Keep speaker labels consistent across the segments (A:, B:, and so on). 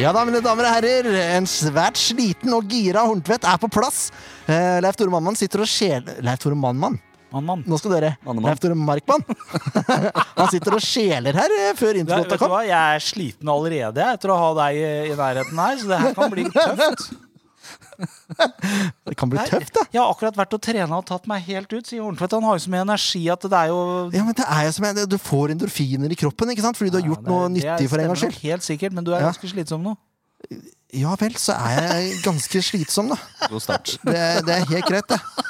A: Ja da, mine damer og herrer. En svært sliten og gira Horntvedt er på plass. Eh, Leif Tore Mannmann sitter og sjel... Leif Tore Mannmann?
B: Mann, mann.
A: Nå skal dere.
C: Mannemann.
A: Leif Tore Markmann. Han sitter og sjeler her eh, før
B: Det,
A: introlåta
B: vet du
A: kom.
B: hva? Jeg er sliten allerede jeg, etter å ha deg i- i nærheten her, så det her kan bli tøft.
A: Det kan bli tøft, da.
B: Jeg har akkurat vært og trena og tatt meg helt ut, sier Horntvedt. Han har jo så mye energi at det er jo
A: Ja, men det er jo som jeg, Du får endorfiner i kroppen ikke sant? fordi du har gjort
B: Ja, det er-
A: noe nyttig for en gangs
B: Det
A: skyld.
B: stemmer nok helt sikkert, men du er
A: Ja.
B: ganske slitsom nå.
A: Ja vel, så er jeg ganske slitsom, da.
C: God start.
A: Det, er- det er helt greit, det.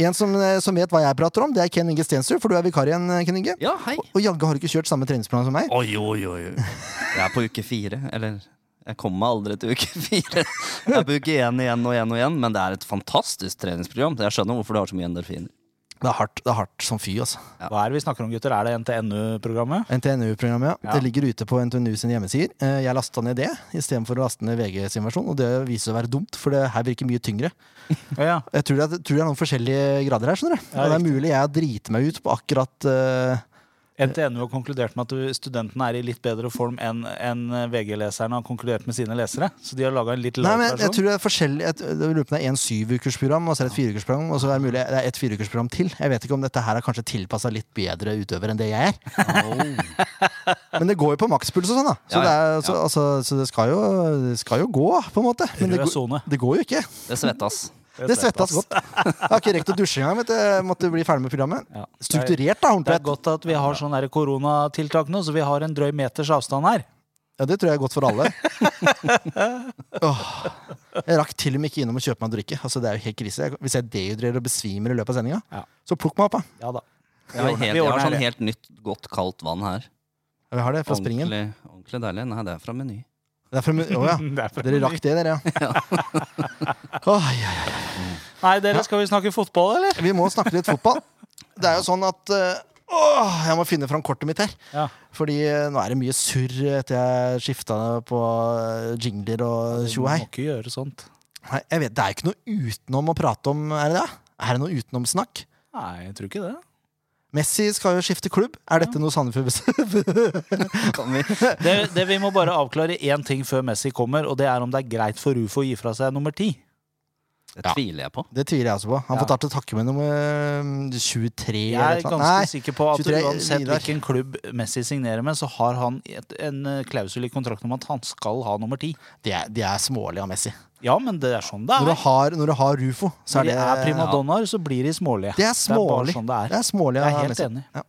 A: En som, eh, som vet hva jeg prater om, det er Ken Inge Stensrud, for du er vikar igjen, eh, Ken Inge.
C: Ja, hei.
A: Og jaggu har du ikke kjørt samme treningsplan som meg.
C: Oi, oi, oi. oi. Jeg er på uke fire. Eller jeg kommer meg aldri til uke fire. Jeg er på uke én igjen og igjen og igjen, men det er et fantastisk treningsprogram. Jeg skjønner hvorfor du har så mye endorfiner.
A: Det er hardt, det er hardt som fy, altså.
B: Hva er det vi snakker om, gutter? Er det NTNU-programmet?
A: NTNU-programmet, ja.
B: Ja.
A: Det ligger ute på NTNU sine hjemmesider. Eh, Jeg lasta ned det istedenfor å laste ned VG sin versjon, og det viser seg å være dumt, for det her virker mye tyngre.
B: Ja, ja.
A: Jeg tror det, er- tror det er noen forskjellige grader her, skjønner du.
B: Ja,
A: og det er mulig jeg driter meg ut på akkurat eh,
B: NTNU har konkludert med at du- studentene er i litt bedre form enn enn VG-leserne har konkludert med sine lesere. Så de har laga en litt
A: Nei,
B: light
A: men jeg
B: versjon.
A: tror det er forskjellig jeg, jeg lurer på om det er en syvukersprogram, og så er det et fireukersprogram, og så er det mulig det er et fireukersprogram til. Jeg vet ikke om dette her er kanskje tilpassa litt bedre utøver enn det jeg er. Men det går jo på makspuls og sånn, da. Så,
C: Ja, ja,
A: Det, er, så, altså, så det, skal jo, det skal jo gå, på en måte. Men det,
B: Rød
A: går-
B: sone.
A: det går jo ikke.
C: Det svettes.
A: Det svettes godt. Jeg har ikke rekt å dusje engang. vet du. Jeg måtte bli ferdig med programmet.
B: Ja.
A: Strukturert, da,
B: Det er
A: Horntvedt.
B: godt at vi har sånne her koronatiltak nå, så vi har en drøy meters avstand her.
A: Ja, det tror jeg er godt for alle. Åh. Jeg rakk til og med ikke innom å kjøpe meg en drikke. Altså, det er jo helt krise. Jeg- Hvis jeg dehydrerer og besvimer i løpet av sendinga,
B: Ja.
A: så plukk meg opp, da.
B: Ja da.
C: Jeg har,
B: ordner-
C: helt,
B: vi
C: jeg har
B: ordner
C: sånn
B: det.
C: helt nytt, godt kaldt vann her.
A: Ja, Vi har det fra springen.
C: Ordentlig, ordentlig deilig. Nei, det er fra Meny.
A: Det er fra, mu- å, ja.
B: Det er fra-
A: Dere rakk det, dere, ja. Åh, ja, ja.
B: Nei, dere, skal vi snakke fotball, eller?
A: Vi må snakke litt fotball. Det er jo sånn at eh, Åh, jeg må finne fram kortet mitt her.
B: Ja.
A: Fordi eh, nå er det mye surr etter jeg skifta på eh, jingler og tjo og hei.
B: må ikke gjøre sånt.
A: Nei, jeg vet, Det er jo ikke noe utenom å prate om, er det det? Er det noe utenomsnakk?
B: Nei, jeg tror ikke det.
A: Messi skal jo skifte klubb. Er dette noe Sandefjord
C: Kan vi
B: det. Det Vi må bare avklare én ting før Messi kommer, og det er om det er greit for Rufo å gi fra seg nummer ti.
C: Det
A: Ja.
C: tviler jeg på.
A: Det tviler jeg også på. Han får ta til takke med nummer eh, 23
B: Jeg
A: eller et
B: er
A: eller
B: ganske
A: annet. Nei,
B: sikker på at
A: 23
B: uansett
A: Vidar.
B: hvilken klubb Messi signerer med, så har han et, en eh, klausul i kontrakten om at han skal ha nummer ti.
A: de er, de er smålige av Messi.
B: Ja, men det er sånn det
A: Når du
B: er.
A: har, når du har Rufo, så er
B: Når de
A: det
B: er primadonnaer, så blir de smålige.
A: Det er
B: bare
A: smålig.
B: sånn det er.
A: Det er smålig
B: Jeg
A: av
B: er helt
A: Messi.
B: enig.
A: Ja.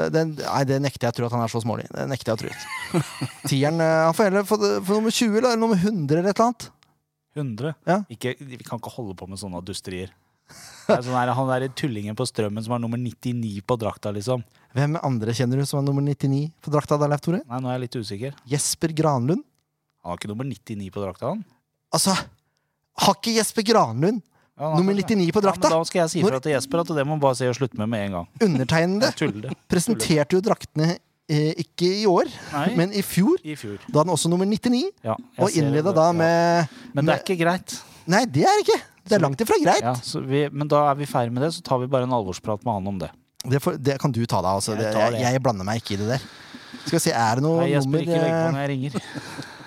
A: Det- Den, nei, det nekter jeg å tro at han er så smålig. Det nekter jeg å tro. Tieren eh, Han får heller få få nummer 20 eller nummer 100 eller et eller annet.
B: 100.
A: Ja.
B: Ikke, vi kan ikke holde på med sånne dusterier. Det er sånn her, han derre tullingen på Strømmen som har nummer 99 på drakta, liksom.
A: Hvem andre kjenner du som er nummer 99 på drakta da, Leif Tore?
B: Nei, nå er jeg litt usikker.
A: Jesper Granlund?
B: Han har ikke nummer 99 på drakta, han.
A: Altså, har ikke Jesper Granlund
B: Ja, han har
A: nummer
B: det.
A: 99 på
B: Ja, men
A: drakta?
B: da skal jeg si ifra til Jesper at det må han bare se og slutte med med en gang.
A: Undertegnede
B: Jeg tuller.
A: presenterte jo draktene eh, ikke i år,
B: Nei,
A: men i fjor.
B: i fjor.
A: Da den også nummer 99,
B: Ja, jeg
A: og
B: ser
A: innleda
B: det.
A: da
B: Ja.
A: med
B: Men det er ikke greit.
A: Nei, det er det ikke! Det er langt ifra greit.
B: Ja, så vi, men da er vi ferdig med det, så tar vi bare en alvorsprat med han om det.
A: Det, får- det kan du ta deg av. Altså.
B: Jeg
A: Jeg, jeg,
B: tar det.
A: jeg blander meg ikke i det der. Skal vi se, er det noe
B: Nei, Jesper, ikke legg på
A: nummer,
B: når jeg ringer.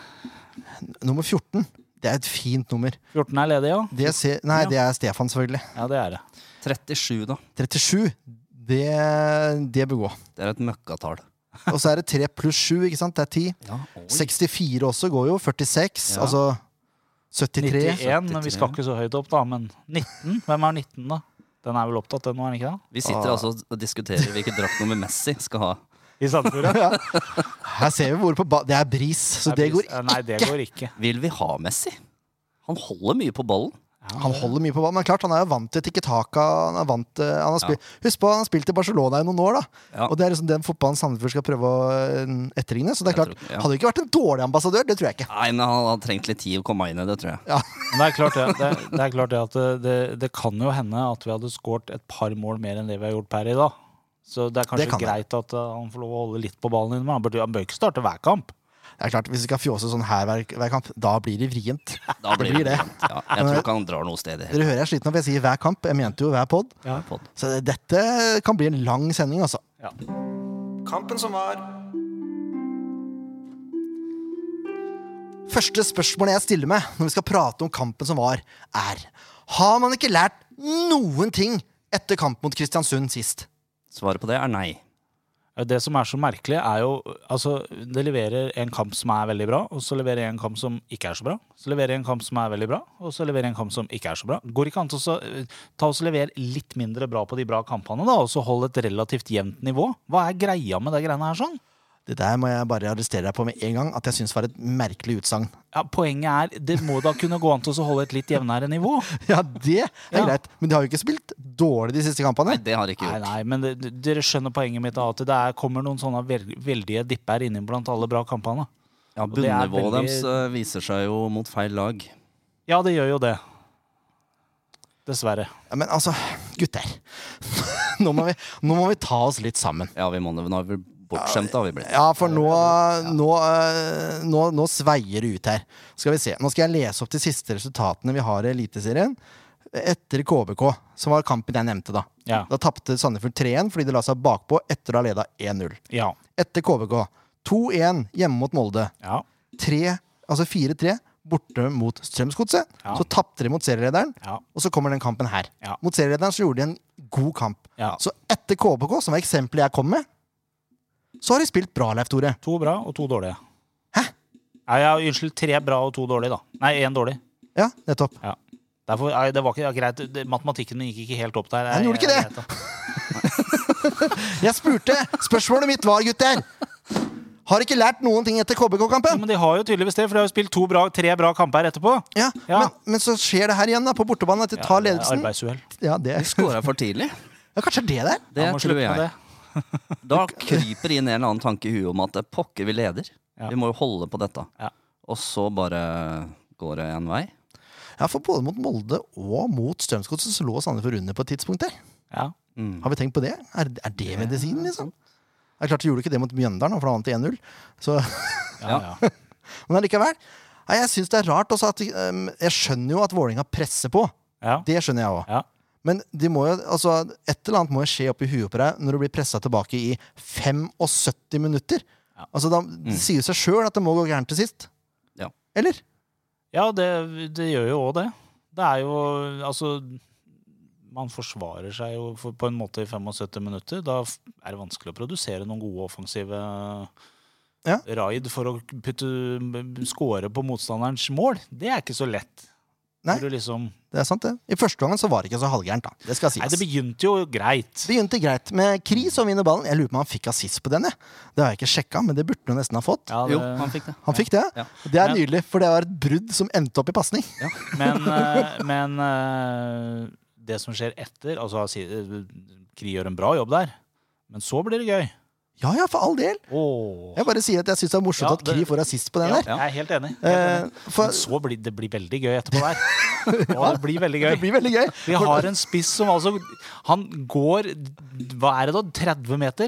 A: eh, nummer 14? Det er et fint nummer.
B: 14 er ledig, ja?
A: Det ser, nei,
B: Ja.
A: det er Stefan, selvfølgelig.
B: Ja, det er det.
C: 37, da.
A: 37. Det, det bør gå.
C: Det er et møkkatall.
A: Og så er det 3 pluss 7, ikke sant? Det er 10.
C: Ja, oi.
A: 64 også går jo. 46.
C: Ja.
A: Altså 73.
B: 91, men vi skal ikke så høyt opp, da. Men 19? Hvem er 19, da? Den er vel opptatt, den nå, er den ikke det?
C: Vi sitter altså og diskuterer hvilket draktnummer Messi skal ha.
B: I Sandefjord, ja.
A: Her ser vi hvor på ba Det er bris, så det går ikke.
B: Nei, det går ikke.
C: Vil vi ha Messi? Han holder mye på ballen.
A: Han holder mye på ballen, men klart, han er jo vant til tikki-taka. Han er vant til, han har spilt, Husk på, han har spilt i Barcelona i noen år, da.
C: Ja.
A: Og det er liksom den fotballen Sandefjord skal prøve å eh, etterligne. Så det er
C: Jeg
A: klart,
C: tror- ja.
A: hadde jo ikke vært en dårlig ambassadør, det tror jeg ikke.
C: Nei, men han har trengt litt tid å komme inn i det, tror jeg.
B: Men det er klart det, det, det, er klart det at det, det, det kan jo hende at vi hadde skåret et par mål mer enn det vi har gjort per i dag. Så det er
A: Det
B: kanskje
A: kan
B: greit at uh, han får lov å holde litt på ballen innimellom. Han bør- Han bør ikke starte hver kamp.
A: Det er klart, Hvis vi skal fjåse sånn her hver, hver kamp, da blir det vrient.
C: Da
A: Det blir det.
C: Ja, jeg tror ikke han drar noe sted i det hele
A: Dere hører jeg er sliten av, for jeg sier hver kamp. Jeg mente jo hver pod.
C: tatt.
A: Så dette kan bli en lang sending, altså.
B: Ja.
D: Kampen som var.
A: Første spørsmålet jeg stiller meg når vi skal prate om kampen som var, er Har man ikke lært noen ting etter kamp mot Kristiansund sist?
C: Svaret på det er nei.
B: Eh, Det som er så merkelig, er jo Altså, det leverer en kamp som er veldig bra, og så leverer en kamp som ikke er så bra. Så leverer en kamp som er veldig bra, og så leverer en kamp som ikke er så bra. Går ikke an til å så, eh, ta og så levere litt mindre bra på de bra kampene, da, og så holde et relativt jevnt nivå? Hva er greia med det greiene her sånn?
A: Det der må jeg bare arrestere deg på med en gang, at jeg syns var et merkelig utsagn.
B: Ja, poenget er, det må da kunne gå an til å så holde et litt jevnere nivå.
A: Ja, det er
B: Ja.
A: greit, men de har jo ikke spilt dårlig de siste
C: Nei,
A: kampene.
C: det har jeg ikke
B: Nei,
C: gjort.
B: nei, men det, d- dere skjønner poenget mitt av at det er, kommer noen sånne vel, veldige dipper inni blant alle bra kampene.
C: Ja,
B: det er
C: Bunnivået
B: veldig-
C: deres eh, viser seg jo mot feil lag.
B: Ja, det gjør jo det. Dessverre.
A: Ja, men altså, gutter. Nå må, vi, nå må vi ta oss litt sammen.
C: Ja, vi må nå nå er vi bortskjemte, har vi blitt.
A: Ja, for nå, nå, eh, nå, nå sveier det ut her. Skal vi se. Nå skal jeg lese opp de siste resultatene vi har i Eliteserien. Etter KBK, som var kampen jeg nevnte, da.
B: Ja.
A: Da tapte Sandefjord 3-1 fordi de la seg bakpå etter å ha leda 1-0.
B: Ja.
A: Etter KBK 2-1 hjemme mot Molde.
B: Ja.
A: 3, altså 4-3 borte mot Strømsgodset.
B: Ja.
A: Så tapte de mot serielederen,
B: Ja.
A: og så kommer den kampen her.
B: Ja.
A: Mot serielederen så gjorde de en god kamp.
B: ja.
A: Så etter KBK, som var eksempelet jeg kom med, så har de spilt bra, Leif Tore.
B: To bra og to dårlige. Hæ? Nei, ja, unnskyld. Tre bra og to dårlige, da. Nei, én dårlig.
A: Ja, nettopp.
B: Derfor, nei, det var ikke ja, greit. Det- Matematikken min gikk ikke helt opp der.
A: Nei, den gjorde ikke det.
B: Greit, da.
A: Jeg spurte! Spørsmålet mitt var, gutter! Har ikke lært noen ting etter
B: Ja,
A: KBK-kampen.
B: men de har jo tydeligvis det, for de har jo spilt to bra, tre bra kamper etterpå.
A: Ja,
B: Ja.
A: Men, men så skjer det her igjen, da, på bortebane. At de tar
B: det er
A: ledelsen.
B: Arbeidsuhell.
A: Ja, det.
C: Skåra for tidlig.
A: ja, kanskje det er det der.
C: Det
B: Man må
C: tror
B: slutte med
C: jeg.
B: det.
C: Da kryper inn en eller annen tanke i huet om at det er pokker, vi leder.
B: Ja.
C: Vi må jo holde på dette.
B: Ja.
C: Og så bare går det en vei.
A: Ja, For både mot Molde og mot Strømsgodset så lå Sandefjord under på et tidspunkt der.
B: Ja.
C: Mm.
A: Har vi tenkt på det? Er, er det medisinen, liksom? Det er klart de gjorde ikke det mot Mjøndalen, for da vant de 1-0. Så-
B: Ja, ja.
A: Men allikevel. Nei, jeg syns det er rart også at ehm, Jeg skjønner jo at Vålerenga presser på.
B: ja.
A: Det skjønner jeg òg.
B: Ja.
A: Men de må jo, altså, et eller annet må jo skje oppi huet på deg når du blir pressa tilbake i 75 minutter. Altså, da, det
B: Mm.
A: sier jo seg sjøl at det må gå gærent til sist.
C: Ja.
A: Eller?
B: Ja, det, det gjør jo òg det. Det er jo Altså, man forsvarer seg jo for, på en måte i 75 minutter. Da f- er det vanskelig å produsere noen gode offensive
A: Ja.
B: raid for å putte, m- score på motstanderens mål. Det er ikke så lett.
A: Nei.
B: Når Du liksom,
A: Det er sant, det. I første gangen så var det ikke så halvgærent, da. Det skal sies.
B: nei, det begynte jo greit.
A: begynte greit med Kri som vinner ballen. Jeg lurer på om han fikk assist på den, jeg. Det har jeg ikke sjekka, men det burde han jo nesten ha fått.
B: Ja, det,
C: Jo, han fikk det.
A: Han fikk det.
C: Ja.
A: Det er
B: Men-
A: nydelig, for det var et brudd som endte opp i pasning.
B: Men, eh, men eh, det som skjer etter altså, si- eh, Kri gjør en bra jobb der, men så blir det gøy.
A: Ja ja, for all del.
B: Åh.
A: Jeg bare sier at jeg syns det er morsomt
B: Ja,
A: at Kri
B: det-
A: får assist på den
B: Ja,
A: der.
B: jeg er helt enig. Helt enig.
A: Eh, for
B: Men så blir det blir veldig gøy etterpå der. Ja, det blir veldig
A: det
B: gøy.
A: blir veldig gøy.
B: Vi har en spiss som altså Han går Hva er det da? 30 meter?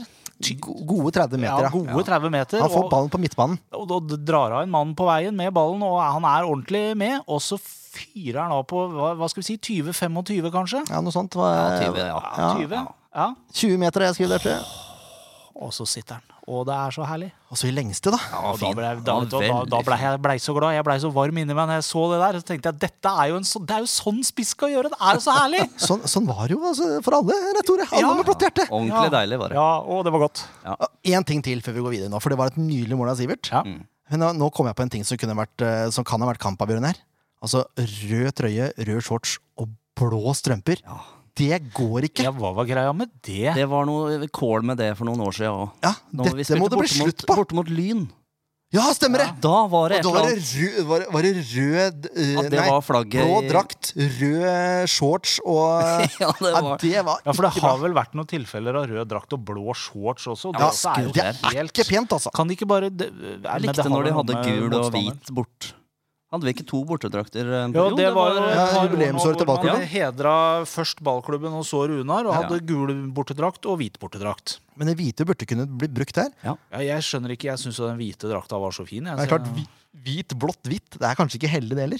A: Go- Gode 30
B: Ja,
A: meter, ja.
B: gode 30 meter.
A: Han får
B: Og,
A: ballen på midtbanen.
B: og, og drar av en mann på veien med ballen, og han er ordentlig med. Og så fyrer han av på hva, hva skal vi si, 20-25, kanskje?
A: Ja, noe sånt. Var,
C: Ja, 20, ja.
B: Ja, 20. Ja.
A: 20 meter har jeg skrevet der til.
B: Og så sitter han. Og det er så herlig.
A: Og så i lengste, da.
C: Han var
B: Og da
C: fin.
B: ble, da,
C: Han
B: da, da,
C: var
B: da
C: veldig
B: ble
C: fin.
B: jeg blei så glad. Jeg blei så varm inni meg når jeg så det der. Så tenkte jeg dette er jo en sånn, det er jo sånn spiss skal gjøre! Det er jo så herlig!
A: Sånn, sånn var det jo altså, for alle, rett Tore. Alle
B: Ja.
A: med blått hjerte.
C: Ordentlig
B: Ja.
C: deilig, var det.
B: Ja, og det var godt.
A: Én ting til før vi går videre nå, for det var et nydelig mål av Sivert.
B: Ja.
A: Men nå, nå kom jeg på en ting som, kunne vært, eh, som kan ha vært kampavgjørende her. Altså rød trøye, rød shorts og blå strømper.
C: Ja.
A: Det går ikke.
B: Ja, hva var greia med det?
C: Det var noe kål med det for noen år siden òg.
A: Ja, dette må det bli slutt på!
C: Borte mot Lyn.
A: Ja, stemmer det!
C: Da var det et
A: Da var
C: eller
A: det
C: annet.
A: rød, var, det- var det rød eh,
C: Ja, det
A: Nei,
C: var flagget
A: blå
C: i-
A: drakt, rød eh, shorts og eh,
C: Ja, det
A: Ja,
C: var
A: det var
B: Ja, for det har vel vært noen tilfeller av rød drakt og blå shorts også.
C: Ja,
B: også jo
A: Det er
B: helt-
A: ikke pent, altså.
B: Kan de ikke bare det, nei,
C: Jeg
B: men
C: likte
B: har
C: når de
B: vel
C: hadde
B: noe med
C: gul og
B: motstanderen.
C: hvit bort. Hadde vi ikke to bortedrakter? eh, en
B: Jo,
C: periode?
B: det var jo
A: Ja,
B: et par år nå
A: jubileumsåret til
B: hvor man
A: ballklubben.
B: Hedra først ballklubben og så Runar, og
C: Ja.
B: hadde gul bortedrakt og hvit bortedrakt.
A: Men det hvite burde kunne blitt brukt der.
B: Ja, jeg skjønner ikke, jeg syns jo den hvite drakta var så fin. Jeg,
A: Det er
B: så-
A: klart, hvi- Hvit, blått, hvitt. Det er kanskje ikke heldig, det heller.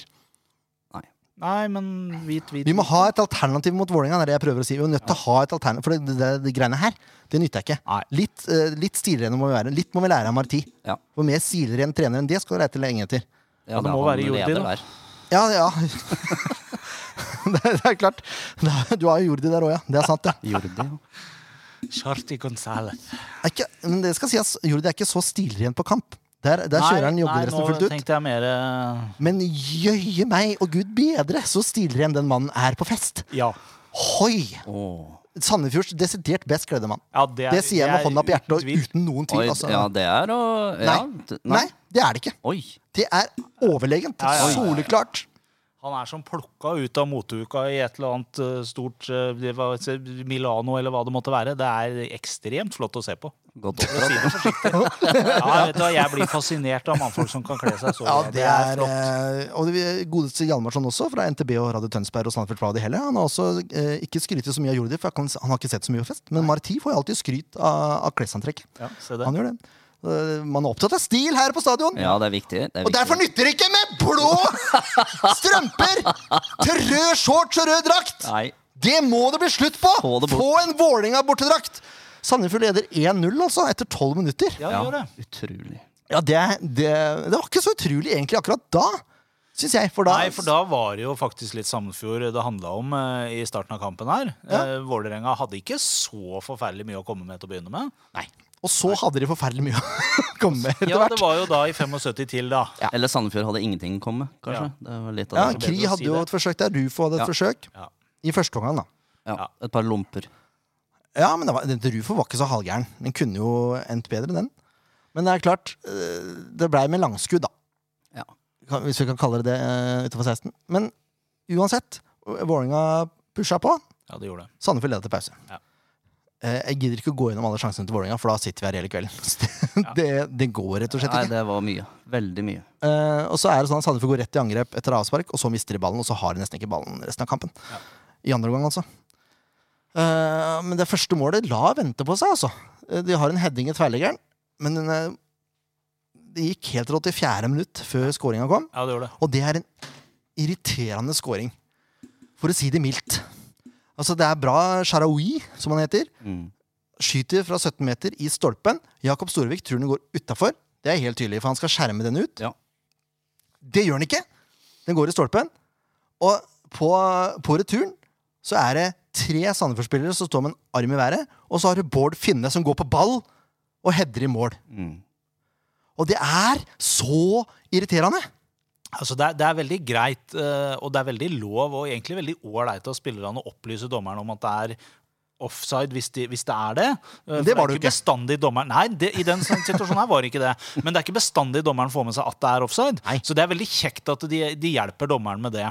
B: Nei, men hvit, hvit
A: Vi må ha et alternativ mot Vålerenga. Det er det jeg prøver å si. Vi er nødt til å ha et alternativ, for det, det, det, det greiene her, det nytter jeg ikke.
B: Nei.
A: Litt, uh, litt stilrene må vi være. Litt må vi lære av Marti.
C: Ja.
A: For mer stilren trener enn det skal du reite lenge etter.
C: Ja,
B: det
C: er
B: må
C: han
B: være Jordi,
C: leder
B: da.
C: der.
A: Ja, ja. det, det er klart. Da- Du har jo Jordi der òg, ja. Det er sant, det.
C: Jordi, ja.
B: Charti Gonzales.
A: Er ikke, men det skal sies, Jordi er ikke så stilren på kamp. Der, der kjører han joggedressen fullt
B: Nei, nå
A: ut.
B: tenkte jeg mer eh,
A: Men jøye meg og gud bedre så stilren den mannen er på fest!
B: Ja.
A: Hoi!
C: Åh.
A: Sandefjords desidert best kledde mann.
B: ja
A: Det sier jeg med hånda på hjertet og
B: uten tvil.
A: uten noen
C: Oi,
A: tvil. Altså.
C: ja, det er å ja,
A: Nei.
C: d-
A: Nei, det er det ikke.
C: Oi.
A: Det er overlegent.
B: Ja, ja, ja, ja.
A: Soleklart.
B: Han er som plukka ut av moteuka i et eller annet eh, stort eh, det var- se, Milano eller hva det måtte være. Det er ekstremt flott å se på.
C: Godt
B: For å si
C: oppdratt.
B: det forsiktig. Ja, vet du, hva, jeg blir fascinert av mannfolk som kan kle seg så
A: Ja,
B: bra.
A: det er, eh, og det godeste Hjalmarsson også, fra NTB og Radio Tønsberg og Sandefjord Blad i Helle. Han har også eh, ikke skrytt så mye av Jordi, for jeg kan, han har ikke sett så mye av fest. Men Marti får jo alltid skryt av, av klesantrekket.
B: Ja, se det.
A: Han gjør det. Eh, Man er opptatt av stil her på stadion.
C: Ja, det er viktig. Det er
A: Og derfor
C: viktig.
A: nytter det ikke med blå strømper til rød shorts og rød drakt!
C: Nei.
A: Det må det bli slutt på!
C: Få det bort.
A: Få en Vålerenga-bortedrakt! Sandefjord leder 1-0 altså, etter 12 minutter.
B: Ja, gjør det.
C: utrolig.
A: Ja, det, det, det var ikke så utrolig egentlig akkurat da, syns jeg. For da,
B: Nei, for da var det jo faktisk litt Sandefjord det handla om eh, i starten av kampen her.
A: Ja.
B: Eh, Vålerenga hadde ikke så forferdelig mye å komme med til å begynne med.
A: Nei. Og så hadde de forferdelig mye å komme med etter
B: Ja,
A: hvert.
B: det var jo da i 75 til, da.
A: Ja.
C: Eller Sandefjord hadde ingenting å komme med, kanskje. Det var litt av
A: Ja,
C: det.
B: bedre
A: Kri
B: å si
A: hadde jo
B: det.
A: et forsøk der. Rufo hadde et
C: Ja.
A: forsøk.
B: Ja.
A: I første omgang, da.
C: Ja, et par lomper.
A: Ja, men det var, det, Rufo var ikke så halvgæren. Den kunne jo endt bedre, den. Men det er klart, eh, det blei med langskudd, da.
C: Ja.
A: Kan- Hvis vi kan kalle det det eh, utenfor 16. Men uansett, Vålerenga pusha på.
B: Ja, det gjorde det.
A: Sandefjord leda til pause.
B: Ja.
A: Eh, Jeg gidder ikke å gå gjennom alle sjansene til Vålerenga, for da sitter vi her hele kvelden. det, det går rett og slett
C: Nei,
A: ikke.
C: det var mye. Veldig mye.
A: Eh, og så er det sånn at Sandefjord går rett i angrep etter avspark, og så mister de ballen, og så har de nesten ikke ballen resten av kampen. I andre omgang, altså. Eh, men det første målet la vente på seg, altså. Eh, De har en heading i tverrleggeren, men den, eh, det gikk helt rått i fjerde minutt før skåringa kom.
B: Ja, det gjorde det.
A: Og det er en irriterende scoring. For å si det mildt. Altså, det er bra Sharawi, som han heter.
C: Mm.
A: Skyter fra 17 meter i stolpen. Jakob Storvik tror den går utafor. Det er helt tydelig, for han skal skjerme den ut.
C: Ja.
A: Det gjør den ikke! Den går i stolpen. Og på, på returen så er det tre Sandefjord-spillere som står med en arm i været, og så har du Bård Finne som går på ball og header i mål.
C: Mm.
A: Og det er så irriterende!
B: Altså, det, er, det er veldig greit, eh, og det er veldig lov, og egentlig veldig ålreit av spillerne å opplyse dommeren om at det er offside, hvis, de, hvis det er det. Eh, for
A: var
B: er
A: det jo ikke.
B: bestandig dommeren Nei, det, i den sånn situasjonen her var det ikke det. Men det er ikke bestandig dommeren får med seg at det er offside.
A: Nei.
B: Så det er veldig kjekt at de, de hjelper dommeren med det.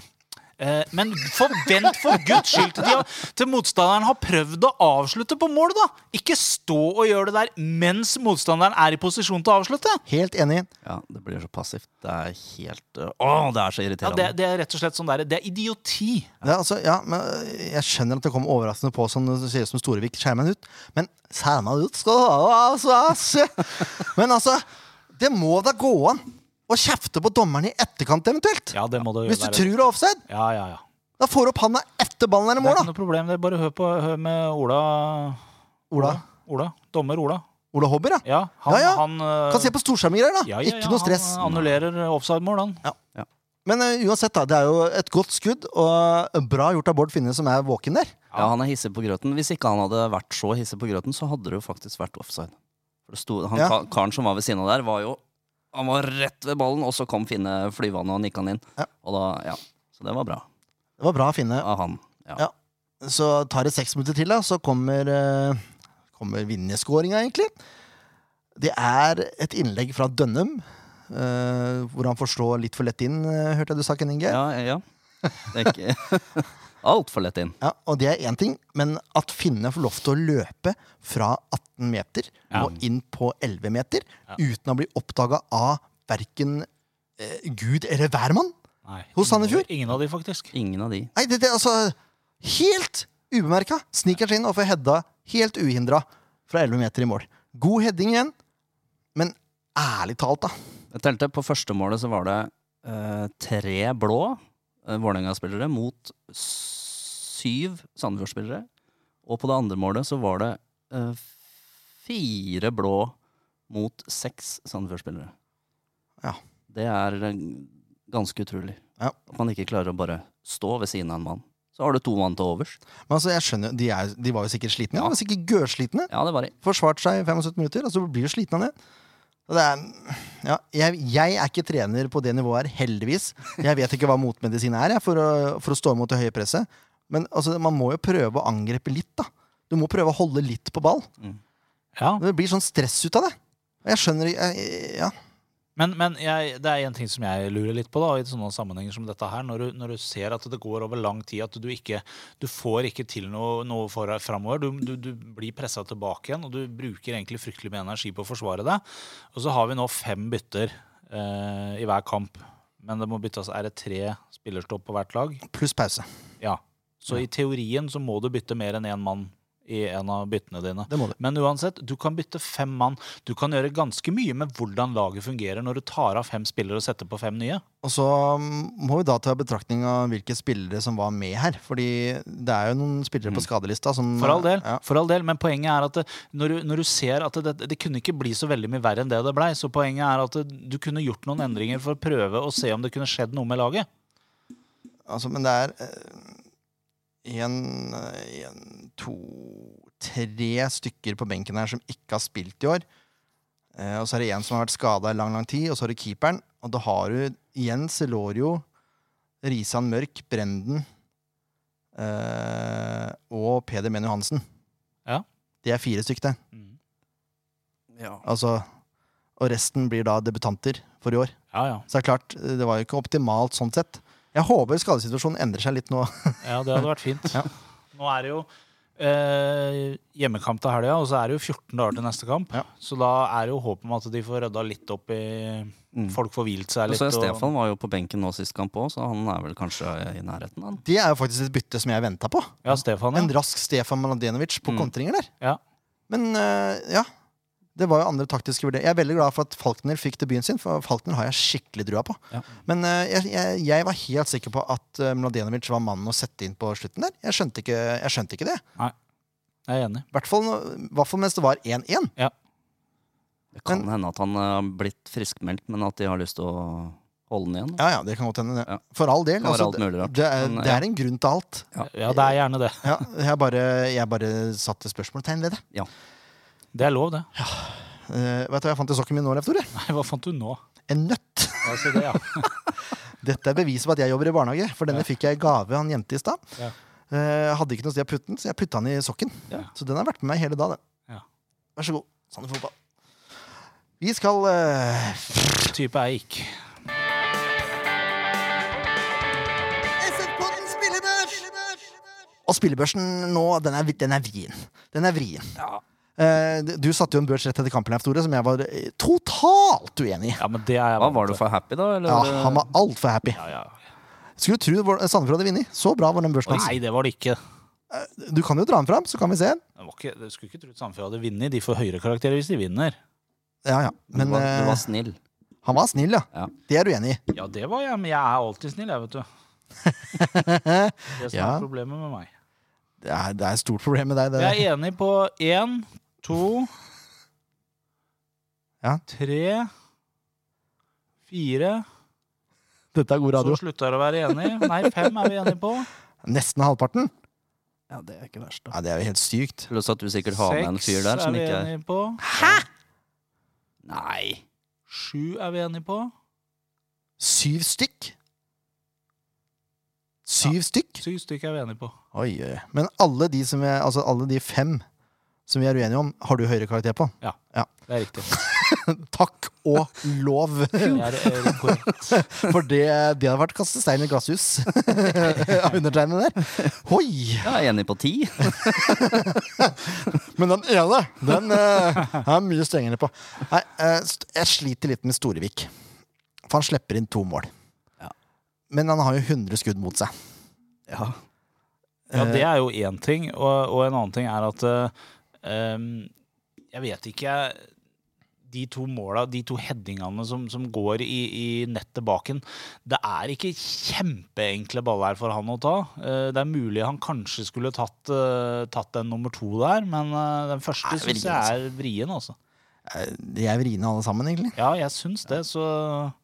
B: Eh, Men forvent for guds skyld til, de, har- til motstanderen har prøvd å avslutte på mål, da! Ikke stå og gjøre det der mens motstanderen er i posisjon til å avslutte.
A: Helt enig.
C: Ja, det blir så passivt. Det er helt øh, Åh, det er så
B: Ja,
C: irriterende.
B: det, det er rett og slett sånn der, det er idioti.
A: Det er altså, ja, men Jeg skjønner at det kom overraskende på som det ser ut som Storevik skjermer den ut, men skjermer den ut skal du ha, altså, altså. Men altså, det må da gå an å kjefte på dommeren i etterkant, eventuelt.
B: Ja, det må det jo
A: Hvis du
B: være.
A: tror det er offside.
B: Ja, ja, ja.
A: Da får du opp handa etter ballen er i
B: Det er
A: mål,
B: ikke
A: da.
B: noe problem. det er Bare hør, på, hør med Ola
A: Ola,
B: Ola. Dommer Ola.
A: Ola Hobber, ja.
B: Ja, han,
A: Ja, ja.
B: han eh,
A: Kan se på storskjermgreier, da.
B: ja, ja, ja,
A: Ikke noe stress.
B: Han annullerer offside-mål, han.
A: Men eh, uansett, da. Det er jo et godt skudd, og bra gjort av Bård Finne, som er våken der.
C: Ja, han er hissig på grøten. Hvis ikke han hadde vært så hissig på grøten, så hadde det jo faktisk vært offside. For det sto, han,
A: Ja.
C: ka- Karen som var ved siden av der, var jo Han var rett ved ballen, og så kom Finne flyvende og nikka han inn.
A: Ja.
C: Og da, ja. Så det var bra
A: Det var bra av Finne.
C: av han. Ja.
A: Ja. Så tar det seks minutter til, da, så kommer, eh, kommer vinnerskåringa, egentlig. Det er et innlegg fra Dønnum, eh, hvor han får slå litt for lett inn, eh, hørte jeg du sa, Ken Inge.
C: Ja, ja. Det er ikke Altfor lett inn.
A: Ja, og det er én ting, men at Finne får lov til å løpe fra 18 meter
B: Ja.
A: og inn på 11 meter
B: Ja.
A: uten å bli oppdaga av verken eh, Gud eller hvermann
B: Nei,
A: Hos Sandefjord?
B: Ingen av de, faktisk.
C: Ingen av de.
A: Nei, det, det er altså Helt ubemerka sniker seg inn og får hedda helt uhindra fra 11 meter i mål. God heading igjen, men ærlig talt, da.
C: Jeg telte på første målet så var det eh, tre blå uh, Vålerenga-spillere mot syv Sandefjord-spillere. Og på det andre målet så var det eh, fire blå mot seks Sandefjord-spillere.
A: Ja.
C: Det er eh, ganske utrolig.
A: Ja.
C: At man ikke klarer å bare stå ved siden av en mann. Så har du to mann til overs.
A: Men altså, jeg skjønner, jo, de, er, de var jo sikkert slitne. Ja. De var sikkert gørslitne.
C: Ja, det var det.
A: Forsvart seg i 75 minutter, og så blir du sliten av det. Og det er, ja, jeg, jeg er ikke trener på det nivået her, heldigvis. Jeg vet ikke hva motmedisin er jeg, for, å, for å stå imot det høye presset. Men altså, man må jo prøve å angripe litt, da. Du må prøve å holde litt på ball.
B: Ja.
A: Det blir sånn stress ut av det. Jeg skjønner jeg, Ja.
B: Men, men jeg, det er en ting som jeg lurer litt på, da, i sånne sammenhenger som dette her. Når du, når du ser at det går over lang tid, at du ikke du får ikke til noe, noe for, framover. Du, du, du blir pressa tilbake igjen, og du bruker egentlig fryktelig mye energi på å forsvare deg. Og så har vi nå fem bytter eh, i hver kamp. Men det må byttes er det tre spillerstopp på hvert lag.
A: Pluss pause.
B: Ja. Så i teorien så må du bytte mer enn én mann i en av byttene dine.
A: Det må du.
B: Men uansett, du kan bytte fem mann. Du kan gjøre ganske mye med hvordan laget fungerer når du tar av fem spillere og setter på fem nye.
A: Og så mm, må vi da ta i betraktning av hvilke spillere som var med her. Fordi det er jo noen spillere på skadelista som
B: For all del.
A: Mm, Ja.
B: For all del. Men poenget er at det, når, du, når du ser at det, det kunne ikke bli så veldig mye verre enn det det blei, så poenget er at det, du kunne gjort noen endringer for å prøve å se om det kunne skjedd noe med laget.
A: Altså, men det er eh, én, to, tre stykker på benken her som ikke har spilt i år. Eh, og så er det én som har vært skada i lang, lang tid, og så har du keeperen. Og da har du igjen Celorio, Risan Mørk, Brenden eh, og Peder Men Johansen.
B: Ja.
A: De er fire stykk, det.
C: Ja.
A: Altså, og resten blir da debutanter for i år.
B: Ja, ja.
A: Så det er klart, eh, det var jo ikke optimalt sånn sett. Jeg håper skadesituasjonen endrer seg litt nå.
B: Ja, det hadde vært fint.
A: Ja.
B: Nå er det jo eh, hjemmekamp til helga, og så er det jo 14 dager til neste kamp.
A: Ja.
B: Så da er det jo håp om at de får rydda litt opp i Folk får hvilt seg
C: Mm. Og
B: litt.
C: så er Stefan var jo på benken nå sist kamp òg, så han er vel kanskje i nærheten, han.
A: Det er jo faktisk et bytte som jeg venta på.
B: ja, Stefan,
A: En
B: ja.
A: rask Stefan Mladenovic på
C: Mm.
A: kontringer der.
B: Ja.
A: Men øh, ja. Det var jo andre taktiske vurderinger. Jeg er veldig glad for at Falkner fikk debuten sin, for Falkner har jeg skikkelig drua på.
C: Ja.
A: Men øh, jeg, jeg, jeg var helt sikker på at øh, Mladenovic var mannen å sette inn på slutten der. Jeg skjønte ikke, jeg skjønte ikke det.
B: Jeg er enig.
A: I hvert fall nå- hvert fall mens det var 1-1.
C: Det kan hende at han eh, har blitt friskmeldt, men at de har lyst til å holde den igjen.
A: Ja, ja, det kan godt hende. det.
C: Ja.
A: For all del.
C: Kan være
A: Altså,
C: alt mulig rart.
A: det, er,
C: Men,
A: det
C: ja.
A: er en grunn til alt.
C: Ja.
B: Ja, det er gjerne det.
A: Ja, jeg bare, jeg bare satte spørsmålstegn ved det.
B: Det er lov, det.
A: Eh, vet du hva jeg fant i sokken min nå, Leif Tore?
B: Nei, hva fant du nå?
A: En nøtt!
B: Ja, se det, ja.
A: Dette er beviset på at jeg jobber i barnehage, for denne fikk jeg i gave av en jente i stad.
B: Ja.
A: Eh, hadde ikke noe sted å putte den, så jeg putta den i sokken.
B: Ja.
A: Så den har vært med meg hele dagen. den.
B: Ja.
A: Vær så god. Sander Fotball. Vi skal eh,
B: Type Eik.
A: Og spillebørsen nå, den er, den er vrien. Den er vrien. Eh, du satte jo en børs rett etter kampen, Leif Tore, som jeg var eh, totalt uenig i.
B: Ja, men det er jeg
C: Hva
B: vant
C: var
B: til.
C: du for happy, da? Eller?
A: Ja, han var altfor happy.
B: Ja, ja.
A: Skulle tro Vår- Sandefjord hadde vunnet. Så bra var den børsen hans.
B: Nei, det var det ikke.
A: Du kan jo dra den fram, så kan vi se.
B: Det var ikke du skulle ikke trodd Sandefjord hadde vunnet. De får høyere karakterer hvis de vinner.
A: Ja, ja. Men
C: du, var,
A: eh,
C: du var snill.
A: han var snill, ja.
C: Ja.
A: Det er du enig i.
B: Ja, det var jeg, men jeg er alltid snill, jeg, vet du. Det som
A: Ja.
B: er problemet med meg.
A: Det er, det er et stort problem med deg. Det.
B: Jeg er enig på én, to
A: Ja.
B: Tre Fire
A: Dette er god
B: Så slutta jeg å være enig. Nei, fem er vi enige på.
A: Nesten halvparten?
C: Ja, det er ikke verst, da.
A: Ja, det er jo helt sykt.
C: Pluss at du sikkert har med en
B: Seks
C: fyr der
B: er
C: som
B: vi
C: ikke er
B: enige på.
C: Nei!
B: Sju er vi enige på.
A: Syv stykk? Syv stykk?
B: Syv stykker er vi enige på.
A: Oi, oi. oi. Men alle de, som er, altså alle de fem som vi er uenige om, har du høyere karakter på.
B: Det er riktig.
A: Takk og lov!
B: Det er, eh, korrekt.
A: For det, det hadde vært kaste stein i glasshus av undertegnede der. Hoi!
C: Jeg er enig på ti.
A: Men den ene, den eh, er mye strengere på. Nei, eh, st- jeg sliter litt med Storevik. For han slipper inn to mål.
C: Ja.
A: Men han har jo 100 skudd mot seg.
C: Ja.
B: Ja, det er jo én ting. Og, og en annen ting er at eh, em, Jeg vet ikke De to måla, de to headingene som, som går i, i nettet bak en, det er ikke kjempeenkle baller for han å ta. Eh, det er mulig han kanskje skulle tatt, eh, tatt den nummer to der, men eh, den første
C: Nei,
B: syns
C: vrien,
B: jeg er vrien, altså.
A: Eh, De er vriene alle sammen, egentlig.
B: Ja, jeg syns det, så
A: Ja,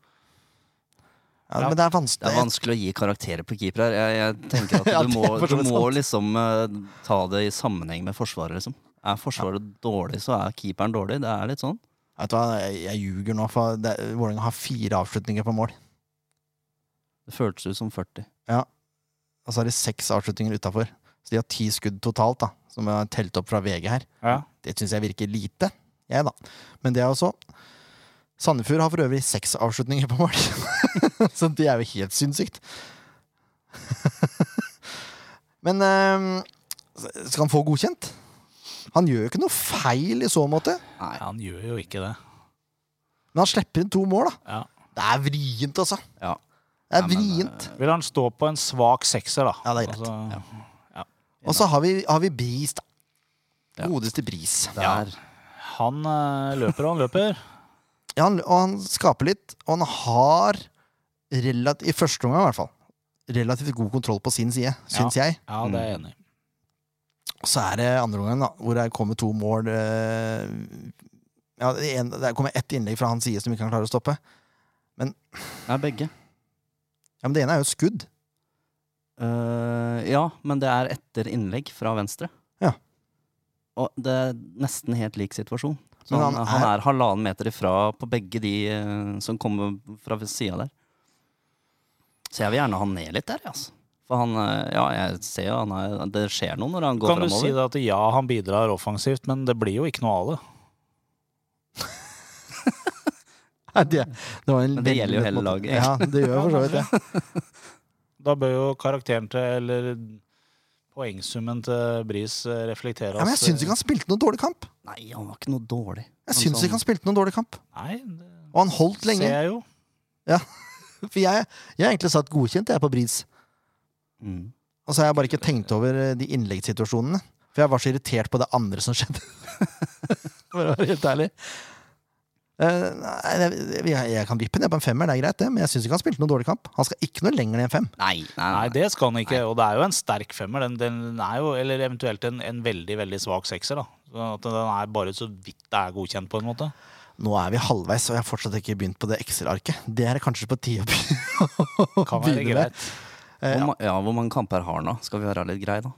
B: Ja.
A: Men det er vanskelig.
C: Det er vanskelig å gi karakterer på keeper her. Jeg, jeg tenker
A: Ja,
C: at
A: det er
C: Du må,
A: for så
C: du
A: vidt
C: må liksom eh, ta det i sammenheng med Forsvaret. liksom Er Forsvaret dårlig, så er keeperen dårlig. Det er litt sånn.
A: Vet du hva, jeg, jeg ljuger nå, for det- Vålerenga har fire avslutninger på mål.
C: Det føltes ut som 40.
A: Og så har de seks avslutninger utafor. Så de har ti skudd totalt, da, som jeg har telt opp fra VG her.
B: Ja.
A: Det syns jeg virker lite, jeg, da. Men det er også Sandefjord har for øvrig seks avslutninger på mål. så det er jo helt sinnssykt. Men eh, skal han få godkjent? Han gjør jo ikke noe feil i så måte.
B: Nei, han gjør jo ikke det.
A: Men han slipper inn to mål, da.
B: Ja.
A: Det er vrient, altså.
C: Ja.
A: Det er
C: Ja, men,
A: vrient.
B: Vil han stå på en svak sekser, da?
A: Ja, det er greit.
B: Altså,
A: Og så har vi, har vi Bris, da.
C: eh, Ja.
A: Godeste Bris.
C: Det er
B: han eh, løper og han løper.
A: Ja, han, og han skaper litt, og han har relat, i første omgang i hvert fall relativt god kontroll på sin side, syns jeg.
B: Ja, det er jeg enig i.
A: Og så er det andre omgangen, da, hvor det kommer to mål eh, ja, det, en, det kommer ett innlegg fra hans side som ikke han klarer å stoppe.
C: det er begge.
A: Ja, Men det ene er jo et skudd.
C: Eh, ja, men det er etter innlegg fra venstre.
A: Ja.
C: Og det er nesten helt lik situasjon. Så
A: Men
C: han,
A: han
C: han, er... halvannen meter ifra på begge de eh, som kommer fra sida der. Så jeg vil gjerne ha han ned litt der, jeg, altså. For han eh, Ja, jeg ser jo han er Det skjer noe når han går
B: Kan du si
C: framover.
B: det at ja, han bidrar offensivt, men det blir jo ikke noe av det?
A: Nei, det, det var en
C: Men det
A: veldig
C: gjelder jo
A: lett
C: hele
A: måte-
C: laget.
A: Ja, det gjør jo for så vidt det.
B: Da bør jo karakteren til, eller poengsummen til Bris eh, reflektere
A: Ja, men jeg syns ikke han spilte noen dårlig kamp.
C: Nei, han var ikke noe dårlig.
A: Jeg syns ikke han spilte noen dårlig kamp.
B: Nei, det
A: Og han holdt lenge.
B: ser jeg jo.
A: For jeg, jeg har egentlig satt godkjent, jeg, på Bris.
C: mm.
A: Og så har jeg bare ikke tenkt over eh, de innleggssituasjonene. For jeg var så irritert på det andre som skjedde. For å være helt ærlig. Eh, nei, jeg, jeg, jeg kan vippe ned på en femmer, det er greit, det. Men jeg syns ikke han spilte noen dårlig kamp. Han skal ikke noe lenger ned enn fem.
C: Nei, nei,
B: Nei,
C: nei.
B: det skal han ikke. Og det er jo en sterk femmer. Den, den er jo, eller eventuelt en, en veldig, veldig svak sekser. da. Så at den er bare så vidt det er godkjent, på en måte.
A: Nå er vi halvveis, og jeg har fortsatt ikke begynt på det Excel-arket. Det er kanskje på tide å begynne
B: Kan være
A: Begynner
B: greit.
A: eh,
C: Hvor, ma- ja, hvor mange kamper har han da? Skal vi være litt greie, da?